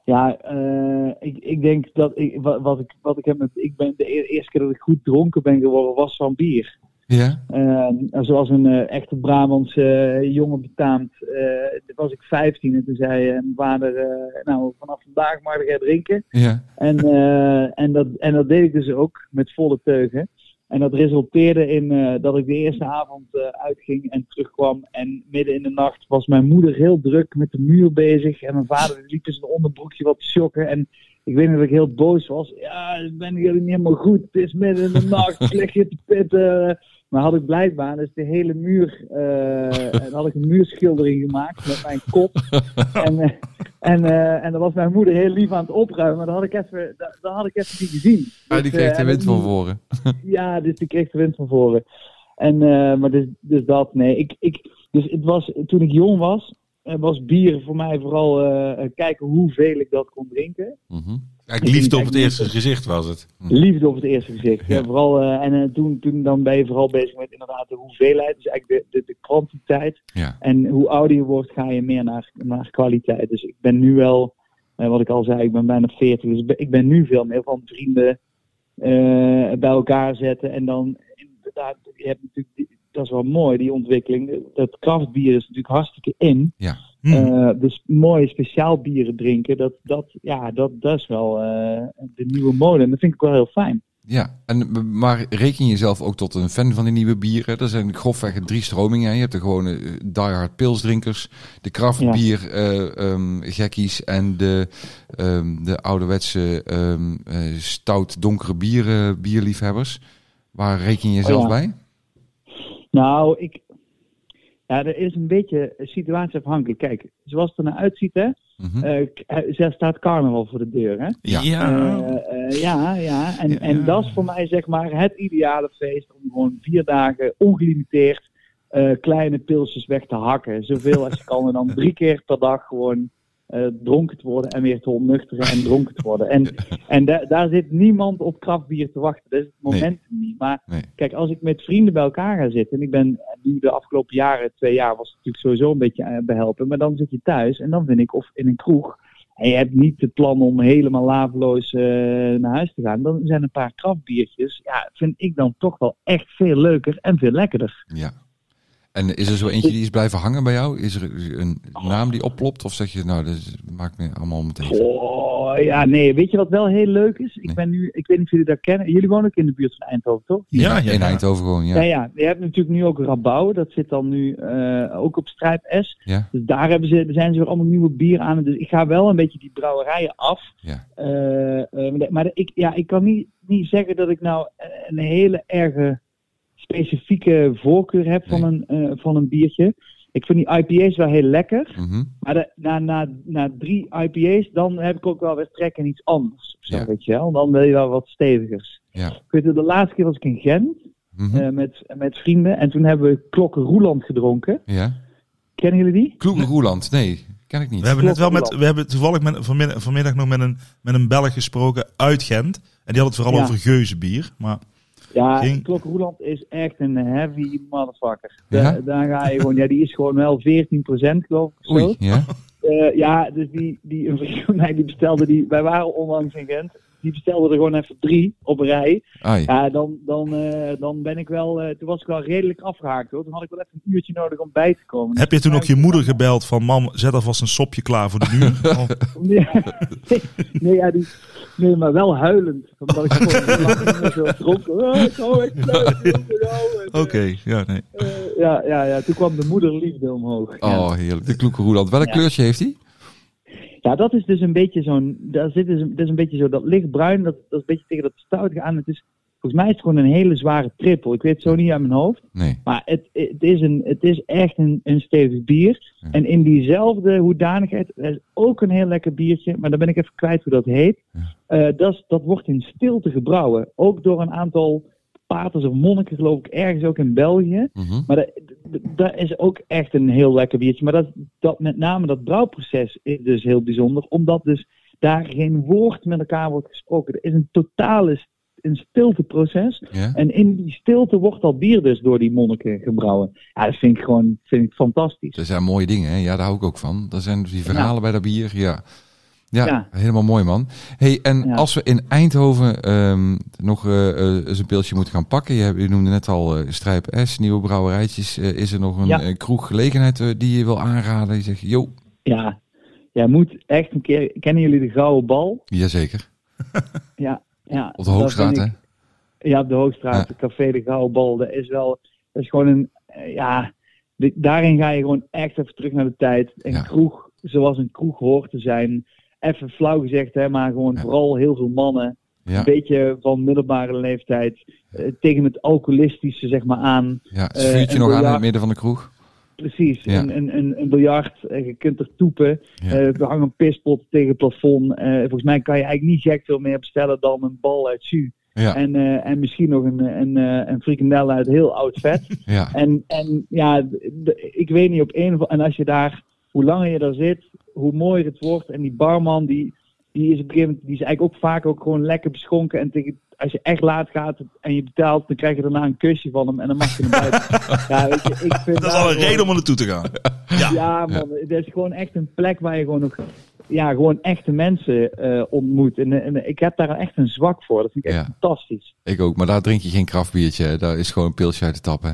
Ja, eh, ik, ik denk dat ik, wat, wat ik, wat ik heb met, ik ben de e- eerste keer dat ik goed dronken ben geworden was van bier.
Ja?
Eh, zoals een eh, echte Brabantse eh, jongen betaamt, eh, toen was ik 15 en toen zei eh, mijn vader, eh, nou vanaf vandaag mag jij drinken.
Ja.
En, eh, en, dat, en dat deed ik dus ook met volle teugen. En dat resulteerde in eh, dat ik de eerste avond eh, uitging en terugkwam. En midden in de nacht was mijn moeder heel druk met de muur bezig. En mijn vader liep in zijn onderbroekje wat te sjokken. En ik weet niet dat ik heel boos was. Ja, ik ben jullie niet helemaal goed. Het is midden in de nacht. Slecht hier te pitten. Maar had ik blijkbaar dus de hele muur... eh, en had ik een muurschildering gemaakt met mijn kop. En, eh, en, eh, en dan was mijn moeder heel lief aan het opruimen. Maar dat had ik even, dat, dat had ik even niet gezien.
Ah, die
Dus, eh,
kreeg de
en
wind
dat-
van voren.
ja, dus die kreeg de wind van voren. En, eh, maar dus, dus dat, nee. Ik, ik, dus het was, toen ik jong was, eh, was bier voor mij vooral eh, kijken hoeveel ik dat kon drinken.
Mhm.
Kijk, liefde op het eerste gezicht was het.
Liefde op het eerste gezicht. Ja.
Ja.
vooral, eh, en eh, toen, toen dan ben je vooral bezig met inderdaad de hoeveelheid, dus eigenlijk de, de, de kwantiteit.
Ja.
En hoe ouder je wordt, ga je meer naar, naar kwaliteit. Dus ik ben nu wel, eh, wat ik al zei, ik ben bijna 40. Dus ik ben, ik ben nu veel meer van vrienden eh, bij elkaar zetten. En dan, inderdaad, je hebt natuurlijk, die- dat is wel mooi, die ontwikkeling. Dat kraftbier is natuurlijk hartstikke in.
Mm.
Hm.
Eh, dus mooie speciaal bieren drinken, dat, dat, ja, dat, dat is wel eh, de nieuwe mode. En dat vind ik wel heel fijn.
Ja, en, maar reken jezelf ook tot een fan van die nieuwe bieren. Er zijn grofweg drie stromingen. Je hebt de gewone eh, diehard pilsdrinkers, de kraftbier eh, ehm, gekkies en de, ehm, de ouderwetse ehm, eh, stout donkere bieren, bierliefhebbers. Waar reken je jezelf
ja.
bij?
Nou, ik. Ja, er is een beetje situatieafhankelijk. Kijk, zoals het er nou uitziet, hè.
Mhm.
eh, k- eh, Daar staat carnaval voor de deur, hè.
Ja.
Eh, eh, ja, ja. En, en dat is voor mij zeg maar het ideale feest om gewoon vier dagen ongelimiteerd eh, kleine pilsjes weg te hakken. Zoveel als je kan en dan drie keer per dag gewoon eh, dronken te worden en weer te ontnuchteren en dronken te worden. En, en da- daar zit niemand op kraftbier te wachten. Dat is het
Nee.
moment niet. Maar
Nee.
kijk, als ik met vrienden bij elkaar ga zitten en ik ben nu de afgelopen jaren, twee jaar, was het natuurlijk sowieso een beetje eh, behelpen. Maar dan zit je thuis en dan vind ik, of in een kroeg, en je hebt niet het plan om helemaal laveloos eh, naar huis te gaan, dan zijn een paar kraftbiertjes, ja, vind ik dan toch wel echt veel leuker en veel lekkerder.
ja. En is er zo eentje die is blijven hangen bij jou? Is er een naam die oplopt? Of zeg je, nou, dat maakt me allemaal meteen.
Oh, ja, nee, weet je wat wel heel leuk is? Ik
Nee.
ben nu, ik weet niet of jullie dat kennen, jullie wonen ook in de buurt van Eindhoven, toch?
Ja, ja,
In
ja.
Eindhoven gewoon,
Ja,
ja.
Nou ja, je hebt natuurlijk nu ook Rabouw, dat zit dan nu eh, ook op Strijp S.
Ja,
Dus daar hebben ze, zijn ze weer allemaal nieuwe bier aan. Dus ik ga wel een beetje die brouwerijen af.
Ja.
Eh, eh, maar ik, ja, ik kan niet, niet zeggen dat ik nou een hele erge specifieke voorkeur heb van,
Nee.
een, eh, van een biertje. Ik vind die IPA's wel heel lekker.
Mhm.
Maar de- na, na, na drie IPA's, dan heb ik ook wel weer trek in iets anders. Zo,
Ja.
weet je wel. Dan wil je wel wat stevigers.
ja.
Ik weet het, de laatste keer was ik in Gent
Mhm.
Hm.
eh, met, met vrienden. En toen hebben we Klokken Roeland gedronken.
ja.
Kennen jullie die?
Kloeke Roeland, nee, ken ik niet.
We hebben net wel
Klopt,
met, we hebben toevallig met, vanmiddag, vanmiddag nog met een, met een Belg gesproken uit Gent. En die had het vooral
Ja.
over geuzenbier. Maar
Ja,
Ging-
Klok Roeland is echt een heavy motherfucker.
Ja?
Da- daar ga je gewoon, ja, die is gewoon wel 14% geloof ik. of
Oei,
zo.
ja.
Eh, ja, dus die, die, een vriend van mij die bestelde, die, wij waren onlangs in Gent, die bestelde er gewoon even drie op een rij.
Ai.
Ja, dan, dan, eh, dan ben ik wel, eh, toen was ik wel redelijk afgehaakt hoor. Toen had ik wel even een uurtje nodig om bij te komen.
heb je toen ook je moeder gebeld van... Mam, zet alvast een sopje klaar voor de muur? Oh,
Nee, nee, ja, die, nee, maar wel huilend. Omdat ik gewoon heel lang niet meer zo dronken. Oh, ik hou echt leuk van jou. En,
Oké, ja, nee.
eh, ja, ja, ja, toen kwam de moederliefde omhoog. Ja.
Oh, heerlijk. De Kloeke Roeland. Welk
Ja.
kleurtje heeft hij?
Ja, dat is dus een beetje zo'n. Daar zit dus, dat is een beetje zo dat lichtbruin, dat, dat is een beetje tegen dat stout aan. Het is, volgens mij is het gewoon een hele zware trippel. Ik weet het zo niet uit mijn hoofd.
Nee.
Maar het, het, is, een, het is echt een, een stevig bier.
Ja.
En in diezelfde hoedanigheid, er is ook een heel lekker biertje, maar dan ben ik even kwijt hoe dat heet. Eh, dat, is- dat wordt in stilte gebrouwen. Ook door een aantal paters of monniken, geloof ik, ergens ook in België.
Mhm.
Maar dat, dat- dat is ook echt een heel lekker biertje. Maar dat, dat met name dat brouwproces is dus heel bijzonder. Omdat dus daar geen woord met elkaar wordt gesproken. Er is een totale s- een stilteproces.
Ja.
En in die stilte wordt al bier dus door die monniken gebrouwen. Ja, dat vind ik gewoon vind ik fantastisch.
Dat zijn mooie dingen, hè? Ja, daar hou ik ook van. Dat zijn dus die verhalen bij dat bier, ja. Ja,
Ja.
helemaal mooi, man. hey, en
Ja.
als we in Eindhoven ehm, nog eh, eh, eens een pilsje moeten gaan pakken. Je, hebt- je noemde net al eh, Strijp S, nieuwe brouwerijtjes. eh, is er nog een
Ja.
eh, kroeggelegenheid eh, die je wil aanraden? Je zegt, yo,
Ja, jij moet echt een keer... Kennen jullie de Gouden Bal?
jazeker.
Ja, ja
Op de
dat
Hoogstraat,
vind ik-
hè?
Ja, op de Hoogstraat,
Ja.
de Café de Gouden Bal. Dat is wel, dat is gewoon een, eh, ja, di- daarin ga je gewoon echt even terug naar de tijd. Een
Ja.
kroeg, zoals een kroeg hoort te zijn. Even flauw gezegd, hè, maar gewoon
Ja.
vooral heel veel mannen.
Ja,
Een beetje van middelbare leeftijd. eh, tegen het alcoholistische, zeg maar, aan.
ja. Het
eh,
vuurtje nog
een
aan in het
biljart.
midden van de kroeg.
Precies,
Ja.
een, een, een, een biljart, eh, je kunt er toepen.
Ja.
eh, we hangen een pispot tegen het plafond. eh, volgens mij kan je eigenlijk niet gek veel meer bestellen dan een bal uit jus.
Ja,
En, eh, en misschien nog een, een, eh, een frikandel uit heel oud vet.
ja.
en, en ja, d- d- ik weet niet op een of En als je daar, hoe langer je daar zit, hoe mooier het wordt. En die barman, die, die is op een gegeven moment, die is eigenlijk ook vaak ook gewoon lekker beschonken. En tegen, als je echt laat gaat en je betaalt, dan krijg je daarna een kusje van hem en dan mag je hem buiten. ja, weet je, ik vind
Dat is al een
gewoon-
reden om er naartoe te gaan.
ja, man. Het is gewoon echt een plek waar je gewoon nog... Ja, gewoon echte mensen eh, ontmoet. En, eh, en ik heb daar echt een zwak voor. Dat vind ik echt
Ja.
fantastisch.
Ik ook, maar daar drink je geen kraftbiertje. hè. Daar is gewoon een pilsje uit de tap, hè?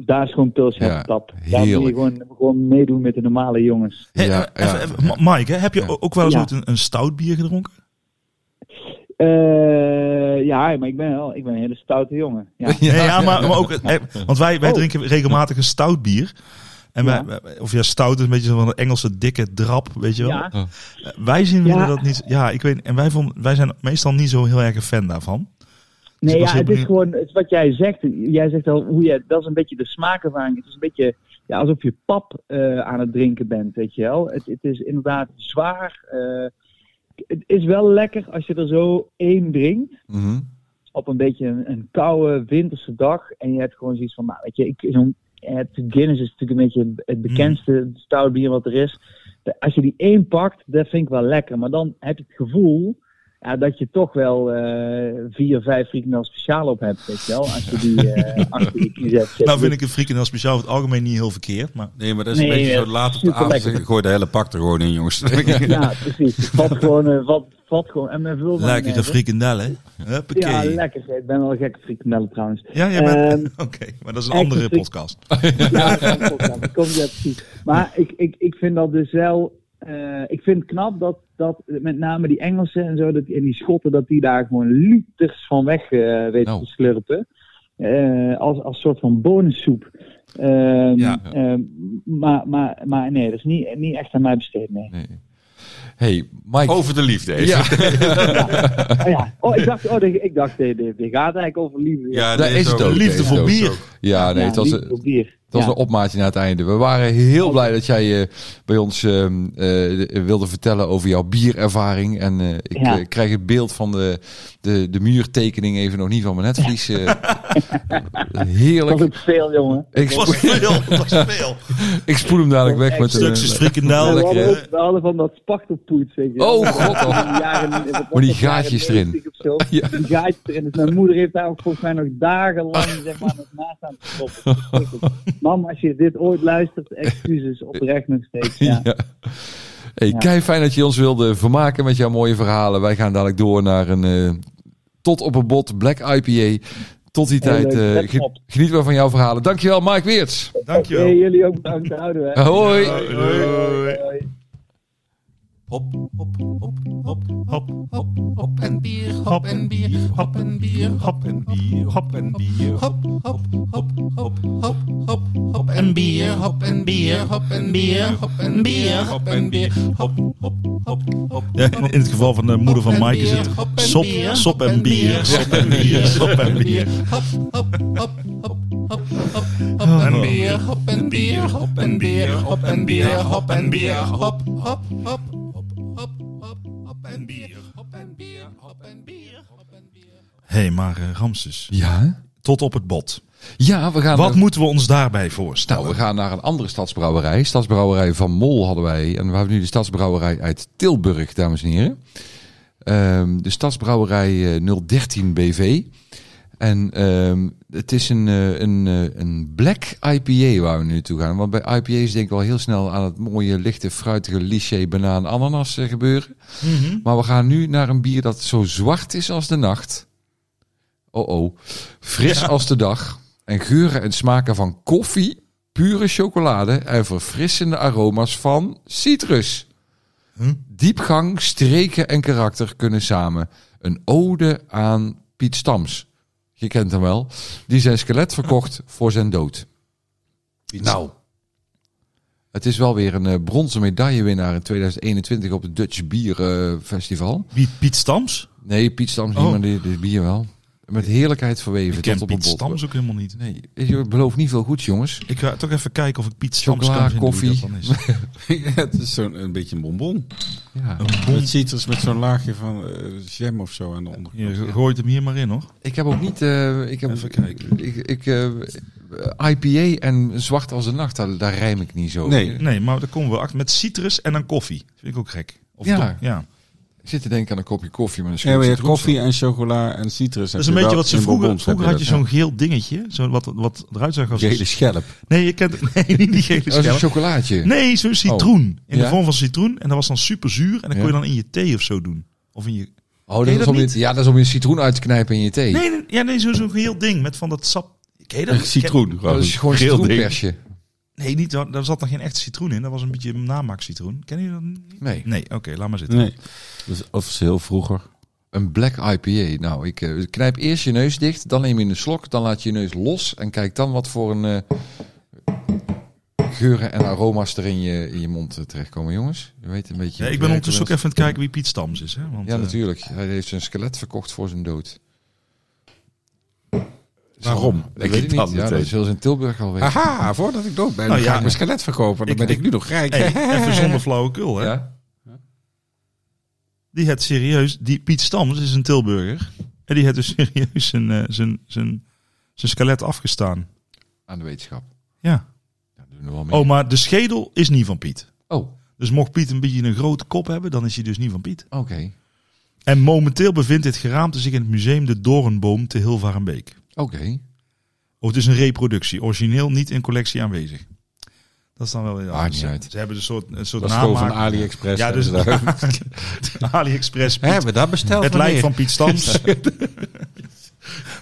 Daar is gewoon pils
Ja,
ja, tap. Daar moet je
heerlijk.
gewoon, gewoon meedoen met de normale jongens.
Hey,
ja,
eh, even-
ja.
even- Ma- Mike, hè, heb je
Ja.
ook wel eens
Ja.
ooit een, een stout bier gedronken?
Eh, ja, maar ik ben wel ik ben een hele stoute jongen. Ja.
Ja.
Nee, ja, maar, maar ook, eh, want wij, wij
Oh.
drinken regelmatig een stout bier. En wij, wij- of ja, stout is een beetje zo van een Engelse dikke drap, weet je wel.
Ja.
Eh, Wij zien
Ja.
dat niet. Ja, ik weet. En wij, vonden, wij zijn meestal niet zo heel erg een fan daarvan. Dus
Nee,
ik was
ja,
heel
het is
benieuwd.
gewoon het is wat jij zegt. Jij zegt al hoe je, dat is een beetje de smaakervaring. Het is een beetje ja, alsof je pap eh, aan het drinken bent, weet je wel. Het, het is inderdaad zwaar. eh, het is wel lekker als je er zo één drinkt.
Mhm.
Op een beetje een, een koude winterse dag. En je hebt gewoon zoiets van, nou weet je, ik, zo'n, het Guinness is natuurlijk een beetje het bekendste
Mm.
stoutbier wat er is. De- Als je die één pakt, dat vind ik wel lekker. Maar dan heb je het gevoel ja, dat je toch wel eh, vier, vijf frikandel speciaal op hebt, weet je wel. Als je die eh, achter je kies hebt.
Nou vind ik een frikandel speciaal over het algemeen niet heel verkeerd. Maar
Nee, maar dat is een
Nee, eh,
beetje
ja,
zo laat op de avond.
superlekker.
Ik gooi de hele pak er gewoon in, jongens.
Ja, precies. Het valt gewoon, eh, valt, valt gewoon. En men wil dan,
lekkere
eh,
frikandel, hè?
Ja,
Huppakee. Ja,
lekker. Ik ben wel gek op frikandellen trouwens.
jij bent-
Ehm,
Oké, maar dat is een
echt
andere
een frik-
podcast.
Ja, dat klopt, ja, dat komt, ja, precies. Maar ik, ik, ik vind dat dus wel. eh, ik vind het knap dat, dat met name die Engelsen en zo, dat, en die Schotten, dat die daar gewoon liters van weg eh, weten
Nou.
te slurpen. Eh, als, als soort van bonensoep. Ehm,
Ja.
ehm, maar, maar, maar nee, dat is niet, niet echt aan mij besteed. Nee.
Nee. Hey, Mike.
Over de liefde even.
Ja,
Oh, ja. oh, ik dacht, oh, die- ik dacht dit, dit, dit gaat eigenlijk over liefde.
daar is het ook.
Liefde
Daar is
voor
het ook.
bier.
Ja, nee, het was,
liefde
het
op bier.
was
Ja.
een opmaatje naar het einde. We waren heel blij dat jij eh, bij ons ehm, eh, wilde vertellen over jouw bierervaring. En eh, ik
Ja.
eh, krijg het beeld van de, de, de muurtekening even nog niet van mijn netvlies. eh.
Dat was
heerlijk.
ook veel, jongen.
Ik,
Het was veel, het was veel.
ik spoel hem dadelijk weg met een...
Stukjes frikandel.
we, hadden,
lekker,
ook- we hadden van dat spachtelpoets, weet je.
Oh,
wel.
god,
Van die
oh.
jaren- dat was
Maar die
nog jaren
gaatjes erin.
90 of zo.
Ja.
Die gaatjes erin. Dus mijn moeder heeft daar ook volgens mij nog dagenlang zeg maar, met naast aan te stoppen. Mam, als je dit ooit luistert, excuses oprecht nog steeds. Ja.
Ja. Hey,
Ja.
Kei fijn dat je ons wilde vermaken met jouw mooie verhalen. Wij gaan dadelijk door naar een eh, tot op een bot Black IPA. Tot die
Heel
tijd
leuk.
eh,
Let
ge-
op.
geniet maar van jouw verhalen. Dankjewel, Mike Weerts.
Dankjewel.
Hey, jullie ook bedankt, daar houden we.
Hoi.
Hoi.
Hoi.
Hop, hop, hop, hop,
Hop,
hop, hop en bier,
hop en bier, hop en bier, hop en bier, hop en bier, hop,
hop, hop, hop, hop, hop, hop en bier, hop en bier, hop en bier, hop en bier, hop en bier, hop, hop, hop, hop.
Ja, want in het geval van de moeder van Mike is het sop, sop en bier, sop en bier, sop en bier.
Hop, hop, hop, hop, hop, hop, hop en bier, hop en bier, hop en bier, hop en bier, hop en bier, hop, hop, hop, hop, hop, hop, hop en bier, hop en bier, hop en bier, hop en bier.
Hé, hey, maar eh, Ramses,
Ja?
tot op het bot.
Ja, we gaan...
Wat moeten we ons daarbij voorstellen?
nou, we gaan naar een andere stadsbrouwerij. Stadsbrouwerij van Mol hadden wij. En we hebben nu de stadsbrouwerij uit Tilburg, dames en heren. Ehm, de stadsbrouwerij eh, 013 BV. En ehm, het is een, eh, een, eh, een black IPA waar we nu toe gaan. Want bij IPA's denk ik al heel snel aan het mooie, lichte, fruitige lychee, banaan, ananas eh, gebeuren. Maar we gaan nu naar een bier dat zo zwart is als de nacht. Oh oh. Fris als de dag. En geuren en smaken van koffie, pure chocolade en verfrissende aroma's van citrus.
Hm?
Diepgang, streken en karakter kunnen samen. Een ode aan Piet Stams. Je kent hem wel. Die zijn skelet verkocht voor zijn dood. Nou, het is wel weer een eh, bronzen medaillewinnaar in 2021 op het Dutch Bier eh, Festival.
Wie, Piet Stams?
Nee, Piet Stams
Oh.
niet, maar dit, dit bier wel. Met heerlijkheid verweven.
Ik ken
tot op
Piet
een bot.
Stams ook helemaal niet. Nee.
Nee, je belooft niet veel goeds, jongens.
Ik ga toch even kijken of ik Piet Stams
Chocola,
kan vinden hoe
koffie.
dat dan is.
het is zo'n een beetje een bonbon.
Ja.
Met citrus met zo'n laagje van eh, jam of zo aan de onderkant.
Je gooit hem hier maar in, hoor.
Ik heb ook niet. eh, ik heb,
Even kijken.
Ik, ik, eh, IPA en zwart als de nacht, daar, daar rijm ik niet zo.
Nee.
Nee, maar daar komen we achter. Met citrus en dan koffie. Vind ik ook gek. Of
Ja.
dom- ja.
Ik zit te denken aan een kopje koffie met een
Ja, maar
schroefje.
je koffie en chocola en citrus.
Dat is een beetje wat ze vroeger... Vroeger had je zo'n geel dingetje. Zo wat, wat eruit zag als...
gele schelp.
Nee, je kent... Nee, niet die gele
Dat is een
schel.
chocolaatje.
Nee, zo'n citroen. In
Oh. Ja?
de vorm van citroen. En dat was dan super zuur. En dat kon
Ja.
je dan in je thee of zo doen. Of in je...
Oh,
Ken
dat
je
is
dat
om je,
niet?
ja, dat is om je citroen uit te knijpen in je thee.
Nee, nee, ja, nee zo- zo'n geheel ding. Met van dat sap... Ken je dat?
Een citroen.
dat is gewoon
Geel ding.
citroenpersje.
Nee, niet, daar daar zat nog geen echt citroen in. Dat was een beetje een namaak citroen. Ken je dat niet?
Nee.
Nee, oké, laat maar zitten.
Nee. Dat was heel vroeger.
Een black IPA. Nou, ik eh, knijp eerst je neus dicht, dan neem je een slok, dan laat je je neus los en kijk dan wat voor een eh, geuren en aroma's er in je, in je mond eh, terechtkomen, jongens. Je weet een beetje.
Ja,
hoe
ik
het
ben
werkt
ondertussen ook
bij
even aan het kijken wie Piet Stams is. Hè? Want,
ons. Ja,
eh,
natuurlijk. Hij heeft zijn skelet verkocht voor zijn dood.
Waarom?
Dat
Denk
weet
ik
ik
dan
niet. Ja, dat
meteen.
zullen ze in Tilburg al
Ah,
weten.
Aha, voordat ik dood ben,
Nou
ga
ja.
ik mijn skelet verkopen. Dan
Ik-
ben Oh, ik nu nog rijk.
hey, even zonder flauwekul. Hè?
Ja?
Die het serieus. Die Piet Stams is een Tilburger. En die heeft dus serieus zijn, eh, zijn, zijn, zijn skelet afgestaan.
Aan de wetenschap.
Ja.
Ja, doen we wel mee.
Oh, maar de schedel is niet van Piet.
Oh, oké.
Dus mocht Piet een beetje een grote kop hebben, dan is hij dus niet van Piet.
Oh,
En momenteel bevindt dit geraamte zich in het museum De Doornboom te Hilvarenbeek.
Oké.
Oh, het is een reproductie. Origineel niet in collectie aanwezig. Dat is dan wel weer...
Maakt niet
ze,
uit.
ze hebben een soort, een soort
Dat is gewoon van
namaak.
AliExpress.
Ja, dus
Hebben we dat-
AliExpress. Piet.
Hebben we dat besteld?
het lijkt van
meneer?
Piet Stams.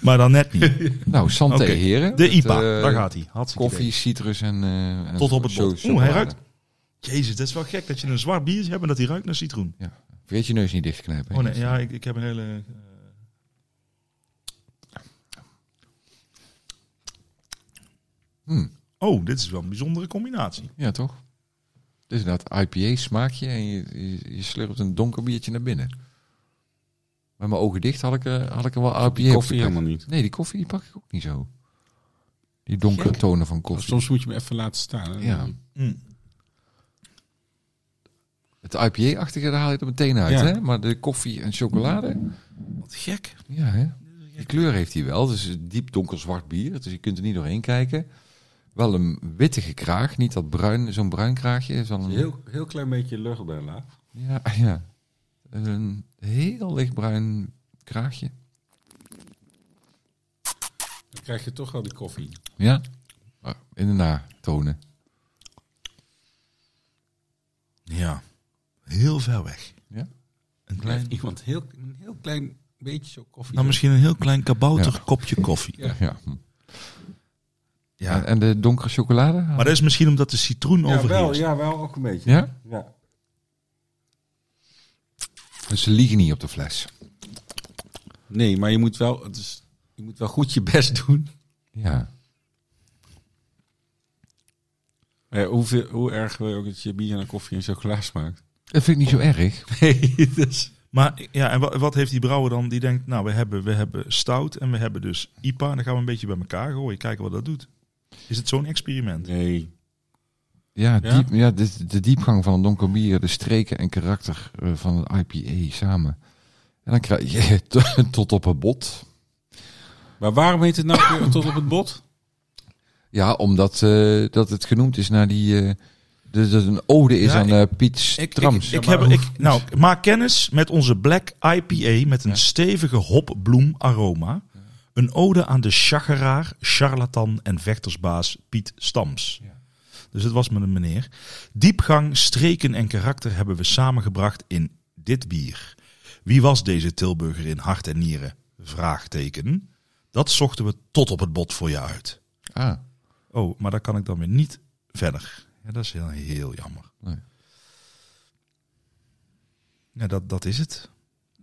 maar dan net niet.
Nou, santé
Oké.
heren.
De
Het,
IPA,
eh,
daar gaat hij.
Koffie, citrus en... eh, en
Tot op het
zo-
bot. Oeh, hij
chocolade.
ruikt. Jezus, dat is wel gek dat je een zwart biertje hebt en dat hij ruikt naar citroen.
Vergeet je neus niet dicht te knijpen.
Oh nee, ja, ik, ik heb een hele... eh,
Hmm.
Oh, dit is wel een bijzondere combinatie.
Ja, toch? Dus inderdaad, IPA smaakje en je, je, je slurpt een donker biertje naar binnen. Met mijn ogen dicht had ik, er- had ik er wel IPA op
Koffie
gepakt.
helemaal niet.
Nee, die koffie die pak ik ook niet zo. Die donkere
Gek.
tonen van koffie.
Soms moet je hem even laten staan. hè.
Ja.
Hmm.
Het IPA-achtige daar haal je er meteen uit,
Ja.
hè? Maar de koffie en chocolade...
Wat gek.
Ja, hè? Die kleur heeft hij wel. Het is een diep donkerzwart bier, dus je kunt er niet doorheen kijken. Wel een wittige kraag, niet dat bruin, zo'n bruin kraagje. Is wel een,
Heel, heel klein beetje lucht bijna.
Ja, ja. Een heel lichtbruin kraagje.
Dan krijg je toch wel die koffie.
Ja. Maar In de natonen.
Ja. Heel ver weg.
Ja.
Een
Blijft
klein,
iemand heel, een heel klein beetje zo koffie.
nou, misschien een heel klein kabouter kopje koffie.
Ja.
Ja.
Ja.
En, en de donkere chocolade?
Maar dat is misschien omdat de citroen
ja, wel,
overheerst.
ja, wel ook een beetje.
Ja?
Ja.
Dus ze liegen niet op de fles.
Nee, maar je moet, wel, het is, je moet wel goed je best doen.
Ja.
Maar ja, hoeveel, hoe erg wil je ook dat je bier naar koffie en chocola smaakt?
Dat vind ik niet zo erg.
Nee, dus...
Maar ja, en wa- wat heeft die brouwer dan? Die denkt, nou, we hebben, we hebben stout en we hebben dus IPA. Dan gaan we een beetje bij elkaar gooien, kijken wat dat doet. Is het zo'n experiment?
Nee.
Ja,
Ja?
Diep, ja de, de diepgang van een donker bier, de streken en karakter eh, van een IPA samen. En dan krijg je t- tot op het bot.
Maar waarom heet het nou weer tot op het bot?
Ja, omdat eh, dat het genoemd is naar die... eh dat het een ode is
Ja,
aan eh Piet
ik-
Strams.
Ja,
ik
maar
heb, ik, nou, maak kennis met onze Black IPA met een stevige hopbloem aroma. Een ode aan de chageraar, charlatan en vechtersbaas Piet Stams. Dus het was met een meneer. Diepgang, streken en karakter hebben we samengebracht in dit bier. Wie was deze Tilburger in hart en nieren? Vraagteken. Dat zochten we tot op het bot voor je uit.
Ah,
Oh, maar daar kan ik dan weer niet verder. Ja, dat is heel, heel jammer.
Nee.
Ja, dat, dat is het.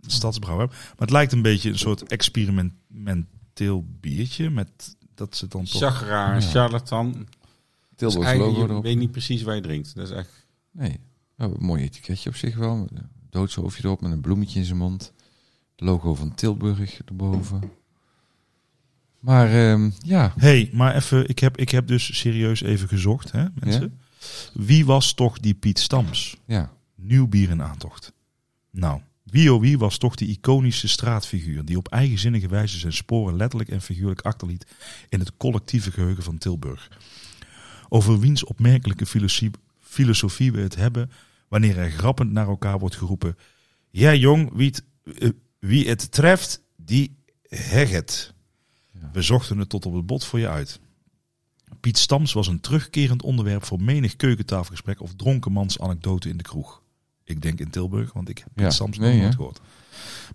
Het Stadsbrouwer. Maar het lijkt een beetje een soort experimenteel biertje. Met dat ze dan toch...
Chagraar, charlatan. Dus
Tilburgs
eigenlijk,
logo
je
erop.
weet niet precies waar je drinkt. Dat is echt
Nee. Nou, een mooi etiketje op zich wel. Met een doodshoofdje erop met een bloemetje in zijn mond. Het logo van Tilburg erboven. Maar ehm, ja,
hey, maar even, ik heb, ik heb dus serieus even gezocht, hè, mensen. Wie was toch die Piet Stams?
ja.
Nieuw bier in aantocht. Nou, wie oh wie was toch die iconische straatfiguur... die op eigenzinnige wijze zijn sporen letterlijk en figuurlijk achterliet... in het collectieve geheugen van Tilburg. Over wiens opmerkelijke filosie- filosofie we het hebben... wanneer er grappend naar elkaar wordt geroepen... Ja jong, wie het, eh, wie het treft, die heg het. We zochten het tot op het bot voor je uit. Piet Stams was een terugkerend onderwerp voor menig keukentafelgesprek of dronkenmans anekdote in de kroeg. Ik denk in Tilburg, want ik heb Piet
Ja,
Stams nog
nee,
nooit
hè?
gehoord.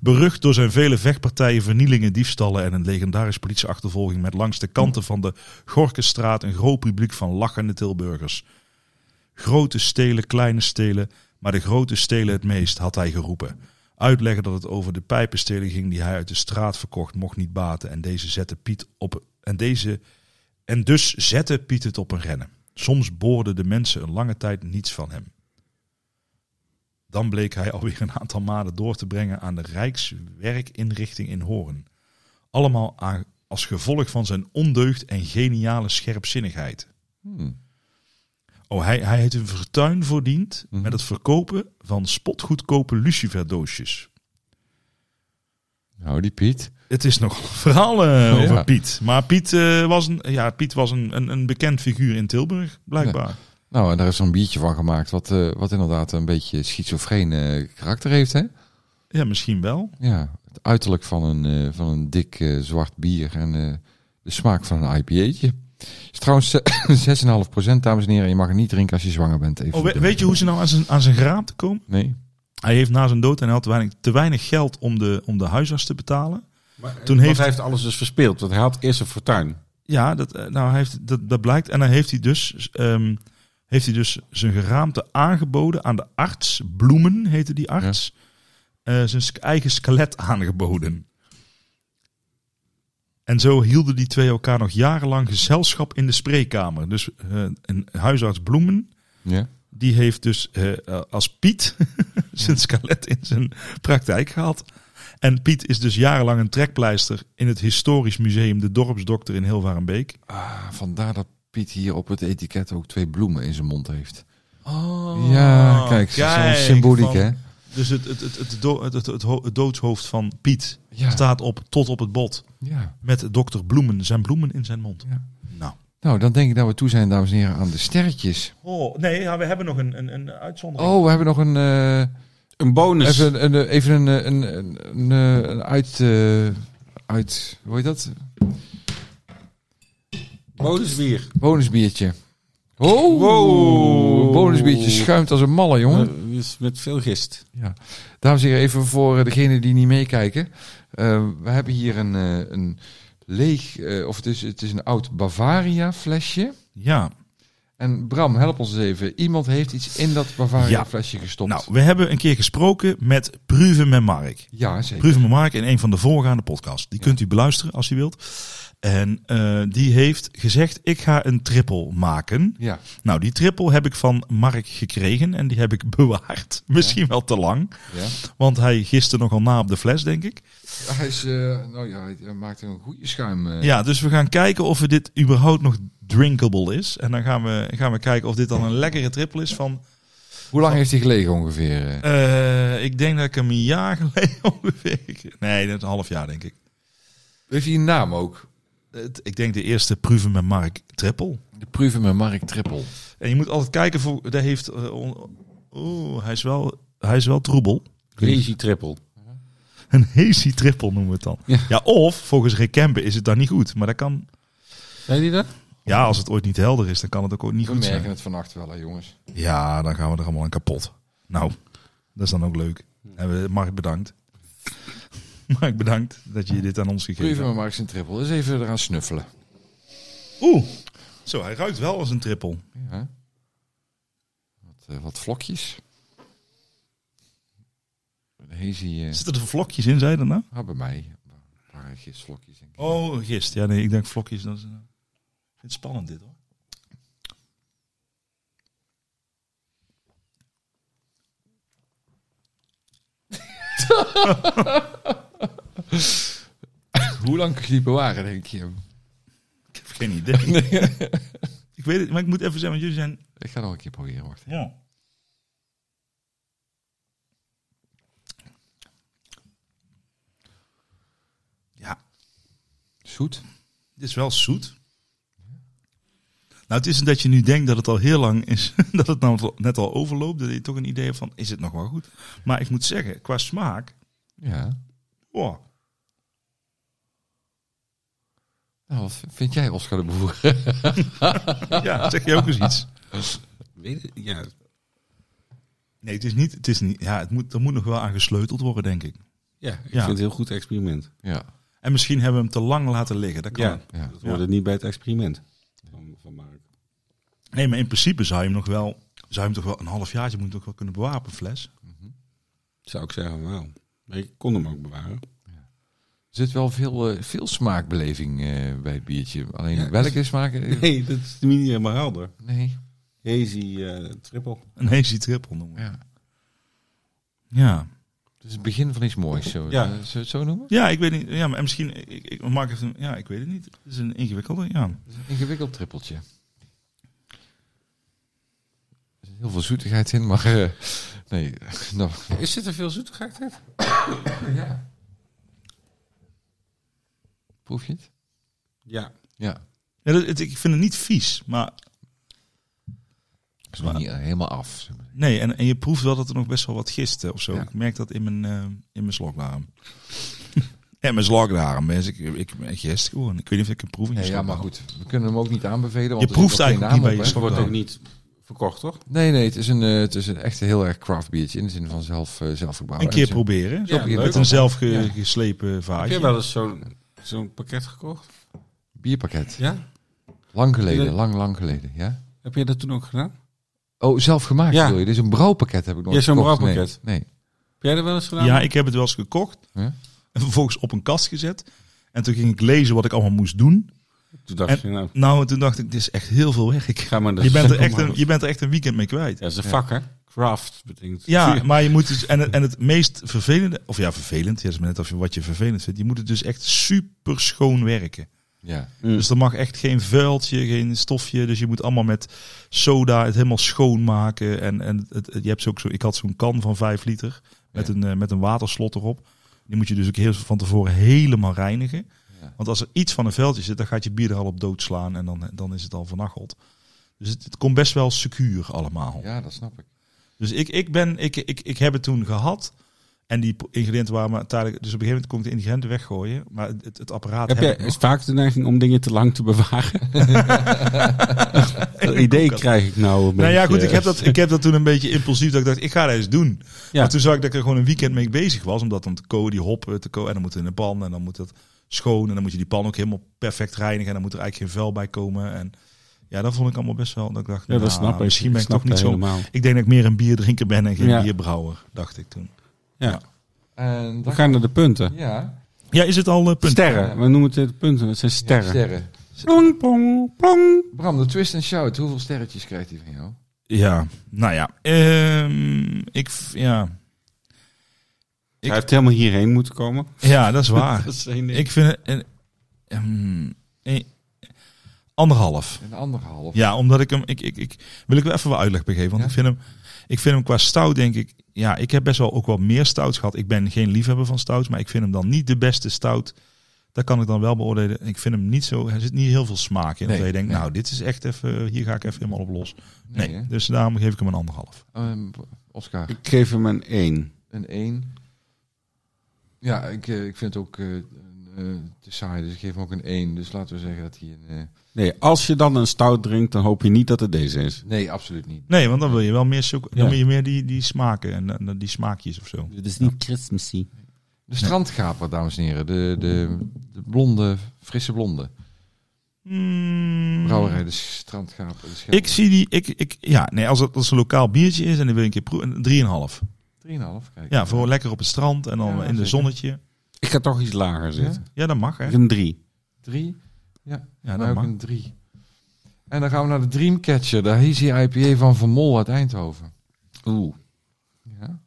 Berucht door zijn vele vechtpartijen, vernielingen, diefstallen en een legendarische politieachtervolging met langs de kanten van de Gorkenstraat een groot publiek van lachende Tilburgers. Grote stelen, kleine stelen, maar de grote stelen het meest, had hij geroepen. Uitleggen dat het over de pijpenstelen ging die hij uit de straat verkocht, mocht niet baten. En deze zette Piet op. En, deze, en dus zette Piet het op een rennen. Soms boorden de mensen een lange tijd niets van hem. Dan bleek hij alweer een aantal maanden door te brengen aan de Rijkswerkinrichting in Hoorn. Allemaal aan- als gevolg van zijn ondeugd en geniale scherpzinnigheid.
Hmm.
Oh, hij, hij heeft een fortuin verdiend
Mhm.
met het verkopen van spotgoedkope luciferdoosjes.
Nou, die Piet.
Het is nogal een verhaal eh,
Ja.
over Piet. Maar Piet eh, was, een, ja, Piet was een, een, een bekend figuur in Tilburg, blijkbaar.
Nou, en daar is er een biertje van gemaakt. Wat, eh, wat inderdaad een beetje schizofreen eh, karakter heeft, hè?
Ja, misschien wel. Oh,
Ja, het uiterlijk van een, eh, van een dik eh, zwart bier en eh, de smaak van een IPA'tje. Is trouwens eh, 6,5% dames en heren. Je mag het niet drinken als je zwanger bent. Even
Oh, we- weet je hoe ze nou aan zijn, aan zijn graam te komen?
Nee.
Hij heeft na zijn dood en hij had te weinig, te weinig geld om de, om de huisarts te betalen. Toen
Toen heeft...
heeft-
hij heeft alles dus verspeeld. Want hij had eerst een fortuin.
Ja, dat, eh, nou, hij heeft, dat, dat blijkt. En dan heeft hij, dus, ehm, heeft hij dus zijn geraamte aangeboden aan de arts. Bloemen heette die arts. Eh, zijn sk- eigen skelet aangeboden. En zo hielden die twee elkaar nog jarenlang gezelschap in de spreekkamer. Dus eh, een huisarts Bloemen,
Ja.
die heeft dus eh, eh, als Piet zijn skelet in zijn praktijk gehad. En Piet is dus jarenlang een trekpleister in het Historisch Museum De Dorpsdokter in Hilvarenbeek.
Ah, vandaar dat Piet hier op het etiket ook twee bloemen in zijn mond heeft.
Oh,
ja, kijk. Zo'n symboliek,
van-
hè?
Dus het, het, het, het, do- het, het, het ho- het doodshoofd van Piet
Ja.
staat op, tot op het bot
ja.
met dokter Bloemen, zijn bloemen in zijn mond.
Ja.
Nou.
Nou, dan denk ik dat we toe zijn, dames en heren, aan de sterretjes.
Oh, nee, ja, we hebben nog een, een, een uitzondering.
Oh, we hebben nog een... eh,
Een bonus.
Dus-
Even, een, eh, even een, eh, een, een, een, eh, een uit, eh, uit... Hoe heet dat?
Bonusbier.
Bonusbiertje. Oh,
Wow.
bonusbiertje schuimt als een malle, jongen.
Eh, dus met veel gist.
Dames en heren, even voor eh, degenen die niet meekijken. Eh, we hebben hier een, eh, een leeg, eh, of het is, het is een oud Bavaria flesje.
Ja,
En Bram, help ons even. Iemand heeft iets in dat Bavaria
Ja.
flesje gestopt.
nou, we hebben een keer gesproken met Pruven en Mark.
ja, zeker.
Pruven en Mark in een van de voorgaande podcasts. Die kunt u beluisteren als u wilt. En eh, die heeft gezegd, ik ga een triple maken.
Ja,
Nou, die triple heb ik van Mark gekregen en die heb ik bewaard. Misschien wel te lang,
ja.
want hij gisteren nogal na op de fles, denk ik.
Hij, is, eh, nou ja, hij eh, maakt een goede schuim. eh.
Ja, dus we gaan kijken of we dit überhaupt nog drinkable is. En dan gaan we, gaan we kijken of dit dan een lekkere triple is van...
Hoe lang heeft hij gelegen ongeveer? eh?
eh, ik denk dat ik hem een jaar geleden ongeveer... Nee, dat is een half jaar, denk ik.
Heeft hij een naam ook?
Het- ik denk de eerste Proeven met Mark triple.
De Pruven met Mark Trippel.
En je moet altijd kijken voor... Daar heeft... eh, on- Oeh, hij is wel... Hij is wel troebel.
Crazy triple.
Een hazy triple noemen we het dan. Ja,
Ja.
of volgens Rick Kempen is het dan niet goed. Maar dat kan...
Zei die dat?
Ja, als het ooit niet helder is, dan kan het ook ooit niet
We
goed zijn.
merken het vannacht wel, hè, jongens.
Ja, dan gaan we er allemaal aan kapot. Nou, dat is dan ook leuk. En we- Mark, bedankt. Mark, bedankt dat je dit aan ons gegeven
Pruven
hebt.
met Mark zijn Trippel. Eens even eraan snuffelen.
Oeh, zo, hij ruikt wel als een trippel.
Ja. Wat, eh, wat vlokjes. Een Hazy. eh
Zitten er vlokjes in, zei je dat nou?
ah, bij mij. Een paar gistvlokjes. denk ik.
Oh, gist. Ja, nee, ik denk vlokjes. Dat is, eh, ik vind het spannend dit hoor.
Hoe lang kun je die bewaren, denk je?
Ik heb geen idee. ik weet het, maar ik moet even zeggen, want jullie zijn...
Ik ga nog een keer proberen, wacht.
Ja. Ja,
Zoet.
Het is wel zoet. Nou, het is dat je nu denkt dat het al heel lang is, dat het nou net al overloopt, dat je toch een idee hebt van, is het nog wel goed? Maar ik moet zeggen, qua smaak,
Ja.
wow,
Nou, wat vind jij, Oscar de Boer?
ja, zeg je ook eens iets.
Weet het- Ja.
Nee, het is niet, het is niet, ja, het moet, er moet nog wel aan gesleuteld worden, denk ik.
ja, ik
Ja.
vind het een heel goed experiment.
ja.
En misschien hebben we hem te lang laten liggen, dat kan.
Ja,
Ja.
dat hoorde niet bij het experiment van, van Mark.
Nee, maar in principe zou je hem nog wel, zou je hem toch wel een half jaartje moet je hem toch wel kunnen bewaren, op een fles.
Zou ik zeggen, wauw. Nee, ik kon hem ook bewaren.
Er zit wel veel, eh, veel smaakbeleving eh, bij het biertje. Alleen
Ja, dus-
welke smaak? eh,
Nee, dat is niet helemaal helder.
Nee.
Hazy eh triple.
Een hazy triple noemen. we.
Ja.
Ja.
Het is het begin van iets moois. Zo.
Ja.
Eh, zullen we het zo noemen?
Ja, ik weet niet. Ja, maar misschien. Ik, ik, Mark heeft een, ja, ik weet het niet. Het is een ingewikkelde. Ja.
Het is een ingewikkeld trippeltje. Er zit heel veel zoetigheid in, maar... eh, nee, nou,
Is dit er veel zoetigheid in?
proef je het?
Ja.
Ja.
ja dat, het- ik vind het niet vies, maar
Het is nog niet eh, helemaal af.
nee. En, en je proeft wel dat er nog best wel wat gist eh, of zo.
Ja.
Ik merk dat in mijn, eh, in mijn slokdarm. en mijn slokdarm. Dus ik, ik, ik gist gewoon. Ik weet niet of ik een proef in je
Nee, ja, maar
slokdarm.
goed. We kunnen hem ook niet aanbevelen. Want
Je
er
proeft
zit nog geen
eigenlijk niet
naam op,
bij je
hè?
Wordt
Ja.
ook niet verkocht, toch?
Nee, nee. Het is een, eh, het is een echt heel erg craft biertje. In de zin van zelf, eh zelfgebouw.
Een
En
keer
zo-
proberen.
Ja, leuk.
met een
Ja.
zelfgeslepen
Heb
vaatje.
je wel eens zo'n zo'n pakket gekocht?
Bierpakket.
Ja.
Lang geleden.
Ja.
Lang, lang geleden. Ja.
Heb je dat toen ook gedaan?
Oh, zelf gemaakt
Ja.
bedoel je? Dus een brouwpakket heb ik nog
Ja, zo'n
nee.
brouwpakket.
Nee.
Heb jij dat wel eens gedaan?
Ja, ik heb het wel eens gekocht.
Ja.
En vervolgens op een kast gezet. En toen ging ik lezen wat ik allemaal moest doen.
Toen dacht
En-
je, nou,
Nou, en toen dacht ik, dit is echt heel veel werk.
ga maar naar
Je bent,
de
er echt een,
supermarkt.
je bent er echt een weekend mee kwijt.
Ja, dat is een vak, hè? Craft betekent...
Ja, maar je moet dus... En het, en het meest vervelende... Of ja, vervelend. Ja, dat is maar net of je, wat je vervelend vindt. Je moet het dus echt super schoon werken.
Ja.
Dus er mag echt geen vuiltje, geen stofje. Dus je moet allemaal met soda het helemaal schoonmaken. En, en het, het- je hebt zo ook zo... Ik had zo'n kan van 5 liter. Met,
Ja.
een, eh, met een waterslot erop. Die moet je dus ook heel van tevoren helemaal reinigen.
Ja.
Want als er iets van een veldje zit, dan gaat je bier er al op doodslaan. En dan, dan is het al vernacheld. Dus het, het komt best wel secuur allemaal.
ja, dat snap ik.
Dus ik, ik, ben, ik, ik, ik heb het toen gehad. En die ingrediënten waren maar tijdelijk. Dus op een gegeven moment kon ik de ingrediënten weggooien. Maar het, het apparaat
Heb
heb ik
jij
nog.
is vaak de neiging om dingen te lang te bewaren? dat
In de
idee
koelkast.
krijg ik nou een
Nou ja,
beetje.
goed. Ik heb, dat, ik heb dat toen een beetje impulsief. Dat ik dacht, ik ga dat eens doen.
Ja.
Maar toen zag ik dat ik er gewoon een weekend mee bezig was. Omdat dan te koken, die hoppen te koken. En dan moet het in de pan. En dan moet dat schoon. En dan moet je die pan ook helemaal perfect reinigen. En dan moet er eigenlijk geen vuil bij komen. En ja, dat vond ik allemaal best wel. Dat ik dacht,
Ja, dat
nou,
snap ik.
Misschien ben ik
snap
toch niet
dat
zo.
helemaal.
Ik denk dat ik meer een bierdrinker ben en geen
Ja.
bierbrouwer. Dacht ik toen.
Ja.
En
We
dan,
gaan naar de punten.
ja.
Ja, is het al eh, punt?
Sterren. We noemen het de punten. Het zijn sterren.
Sterren.
Plong, plong, plong.
Bram, de twist en shout. Hoeveel sterretjes krijgt hij van jou?
Ja, nou ja. Ehm, ik, v- ja. Ik-
Hij heeft helemaal hierheen moeten komen.
ja, dat is waar.
Dat is één ding.
ik vind het... een- ehm, een- anderhalf.
Een anderhalf.
Ja, omdat ik hem... Ik, ik, ik, wil ik wel even wat uitleg begeven. Want
Ja.
ik, vind hem, ik vind hem qua stout, denk ik... Ja, ik heb best wel ook wel meer stouts gehad. Ik ben geen liefhebber van stouts. Maar ik vind hem dan niet de beste stout. Dat kan ik dan wel beoordelen. Ik vind hem niet zo... Er zit niet heel veel smaak in.
Nee,
dat je denkt,
nee.
nou, dit is echt even... Hier ga ik even helemaal op los. Nee,
Nee, hè?
dus daarom geef ik hem een anderhalf.
Ehm, Oscar,
Ik geef hem een 1.
een 1. Ja, ik, eh, ik vind het ook eh, eh, te saai, dus ik geef hem ook een 1. Dus laten we zeggen dat hij een... eh,
Nee, als je dan een stout drinkt, dan hoop je niet dat het deze is.
nee, absoluut niet.
Nee, want dan wil je wel meer zoeken. Dan
Ja.
wil je meer die, die smaken en, en die smaakjes of zo.
Dit is niet Christmassy.
De strandgaper, dames en heren. De, de, de blonde, frisse blonde.
Mm,
Brouwerij, de strandgaper. De Schelde.
Ik zie die. Ik, ik, ja, nee, als het als het een lokaal biertje is en dan wil ik een keer proeven. 3,5.
3,5, kijk.
Ja, voor lekker op het strand en dan
Ja,
in de
zeker.
zonnetje.
Ik ga toch iets lager zitten.
Ja, dat mag hè.
Ik heb Een 3.
3.
Ja,
maar
dat
ook
mag.
een 3. En dan gaan we naar de Dreamcatcher, de Hazy IPA van Vermol uit Eindhoven.
Oeh.
Ja,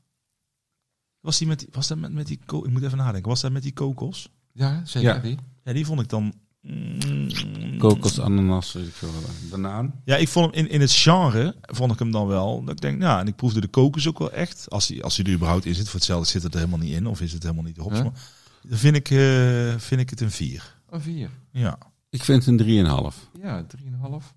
Was, die met, die- was dat met, met die. ko- Ik moet even nadenken. Was dat met die kokos?
ja zeker
Ja.
die.
Ja, die vond ik dan. mm,
Kokos, ananas, weet ik veel wat. banaan.
Ja, ik vond hem in, in het genre vond ik hem dan wel. Dat ik denk, nou, en ik proefde de kokos ook wel echt. Als hij als die er überhaupt in zit, voor hetzelfde zit het er helemaal niet in, of is het helemaal niet de hops.
Huh?
Maar dan vind ik, eh, vind ik het een 4.
Een 4.
Ja.
Ik vind het een 3,5.
Ja, 3,5.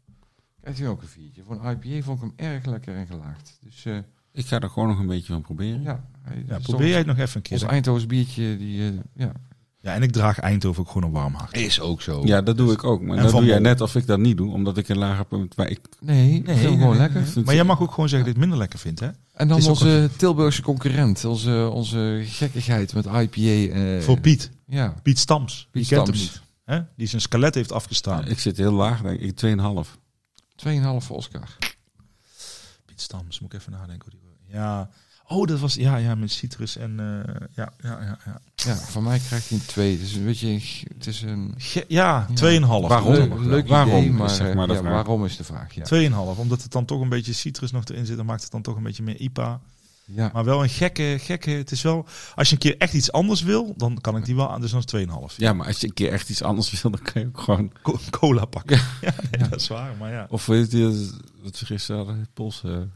Krijgt hij ook een viertje. Voor een IPA vond ik hem erg lekker en gelaagd. Dus eh,
Ik ga er gewoon nog een beetje van proberen.
ja, hij-
ja
is
probeer jij
toch-
het nog even een
Ons
keer.
Eindhovens biertje, die eh, ja.
Ja, en ik draag Eindhoven ook gewoon een warm hart.
is ook zo.
Ja, dat doe ik ook. Maar
En
dat
Van
doe jij
Mol.
net of ik dat niet doe, omdat ik een lager punt... Maar ik
Nee, ik vind hem gewoon lekker.
vind
Maar jij mag ook gewoon zeggen dat ik het minder lekker vind, hè?
En dan
Het is ook
onze Tilburgse concurrent, onze, onze gekkigheid met IPA. eh,
Voor Piet.
Ja, Piet
Piet Stams. Die kent hem
Stams.
niet, hè? Die zijn skelet heeft afgestaan.
Ik zit heel laag, denk ik. 2,5.
2,5 voor Oscar.
Piet Stams, moet ik even nadenken. Hoe die... Ja. Oh, dat was... Ja, ja, met citrus en... eh, ja, ja, ja, ja.
Ja, van mij krijgt hij een 2. Dus een beetje, het is een...
Ge- ja, 2,5.
Waarom?
Leuk.
Leuk, leuk
Waarom,
idee, maar,
is zeg maar de
eh, ja,
vraag.
waarom is de vraag? Ja.
2,5, omdat het dan toch een beetje citrus nog erin zit. Dan maakt het dan toch een beetje meer IPA.
Ja.
Maar wel een gekke, gekke... Het is wel... Als je een keer echt iets anders wil, dan kan ik die wel aan. Dus dan is 2,5.
Ja, maar als je een keer echt iets anders wil, dan kan je ook gewoon...
Co- cola pakken. Ja, nee, dat is waar, maar ja.
Of weet je, eh, wat we gisteren hadden, Poolse...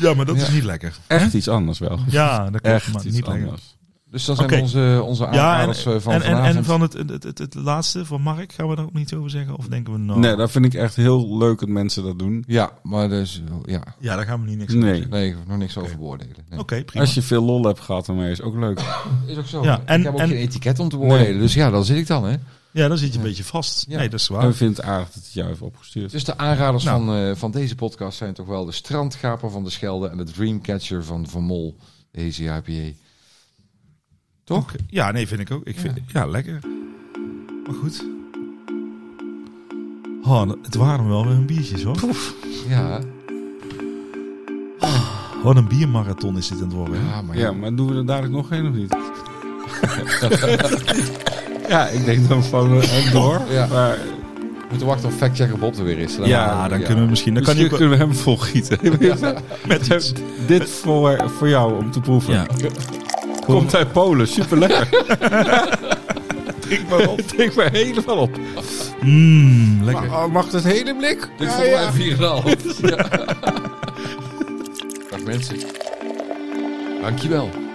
Ja, maar dat
Ja.
is niet lekker.
Echt iets anders wel.
Ja, dat klopt,
Echt
maar
iets
niet lekker.
anders.
Dus dat zijn
Oké.
onze, onze
Ja, en,
aanraders eh, van
en, en,
vanavond.
en van het, het, het, het laatste, van Mark, gaan we daar ook niet over zeggen? Of denken we nou...
Nee, dat vind ik echt heel leuk dat mensen dat doen.
Ja, maar dus, ja.
Ja, daar gaan we niet niks over
Nee.
zeggen.
Nee, ik heb nog niks over beoordelen. Nee.
Oké, prima.
Als je veel lol hebt gehad daarmee, is ook leuk.
Is ook zo.
Ja, en-
ik heb ook
en-
geen etiket om te beoordelen. Dus ja, dan zit ik dan, hè.
Ja, dan zit je een beetje vast.
Ja.
Nee, dat is
En we
waar.
vinden het aardig dat het jou heeft opgestuurd.
Dus de aanraders
Nou.
van, eh, van deze podcast zijn toch wel de strandgaper van de Schelde en de dreamcatcher van Van Mol, de HCIPA. Toch?
Oké. Ja, nee, vind ik ook. Ik vind, ja. lekker. Maar goed. Oh, het waren wel weer een biertjes, hoor.
Ja.
Wat een biermarathon is dit aan het worden. hè?
ja, maar
Ja,
ja.
maar doen we er dadelijk nog één of niet? ja, ik denk dan van eh, door.
Ja.
Maar
We moeten wachten tot factchecker Bob er weer is.
Ja,
maken
Ah, dan kunnen we misschien... Dan kan
misschien
je ook
kunnen we hem volgieten.
met iets.
Dit voor, voor jou om te proeven.
Ja.
Komt uit Polen, super lekker. Drink maar op. Drink maar helemaal op.
Mmm, lekker.
Oh, mag dat hele blik?
Dit
Ja,
voor
ja.
mij 4,5. Ja. Dag mensen. Dankjewel.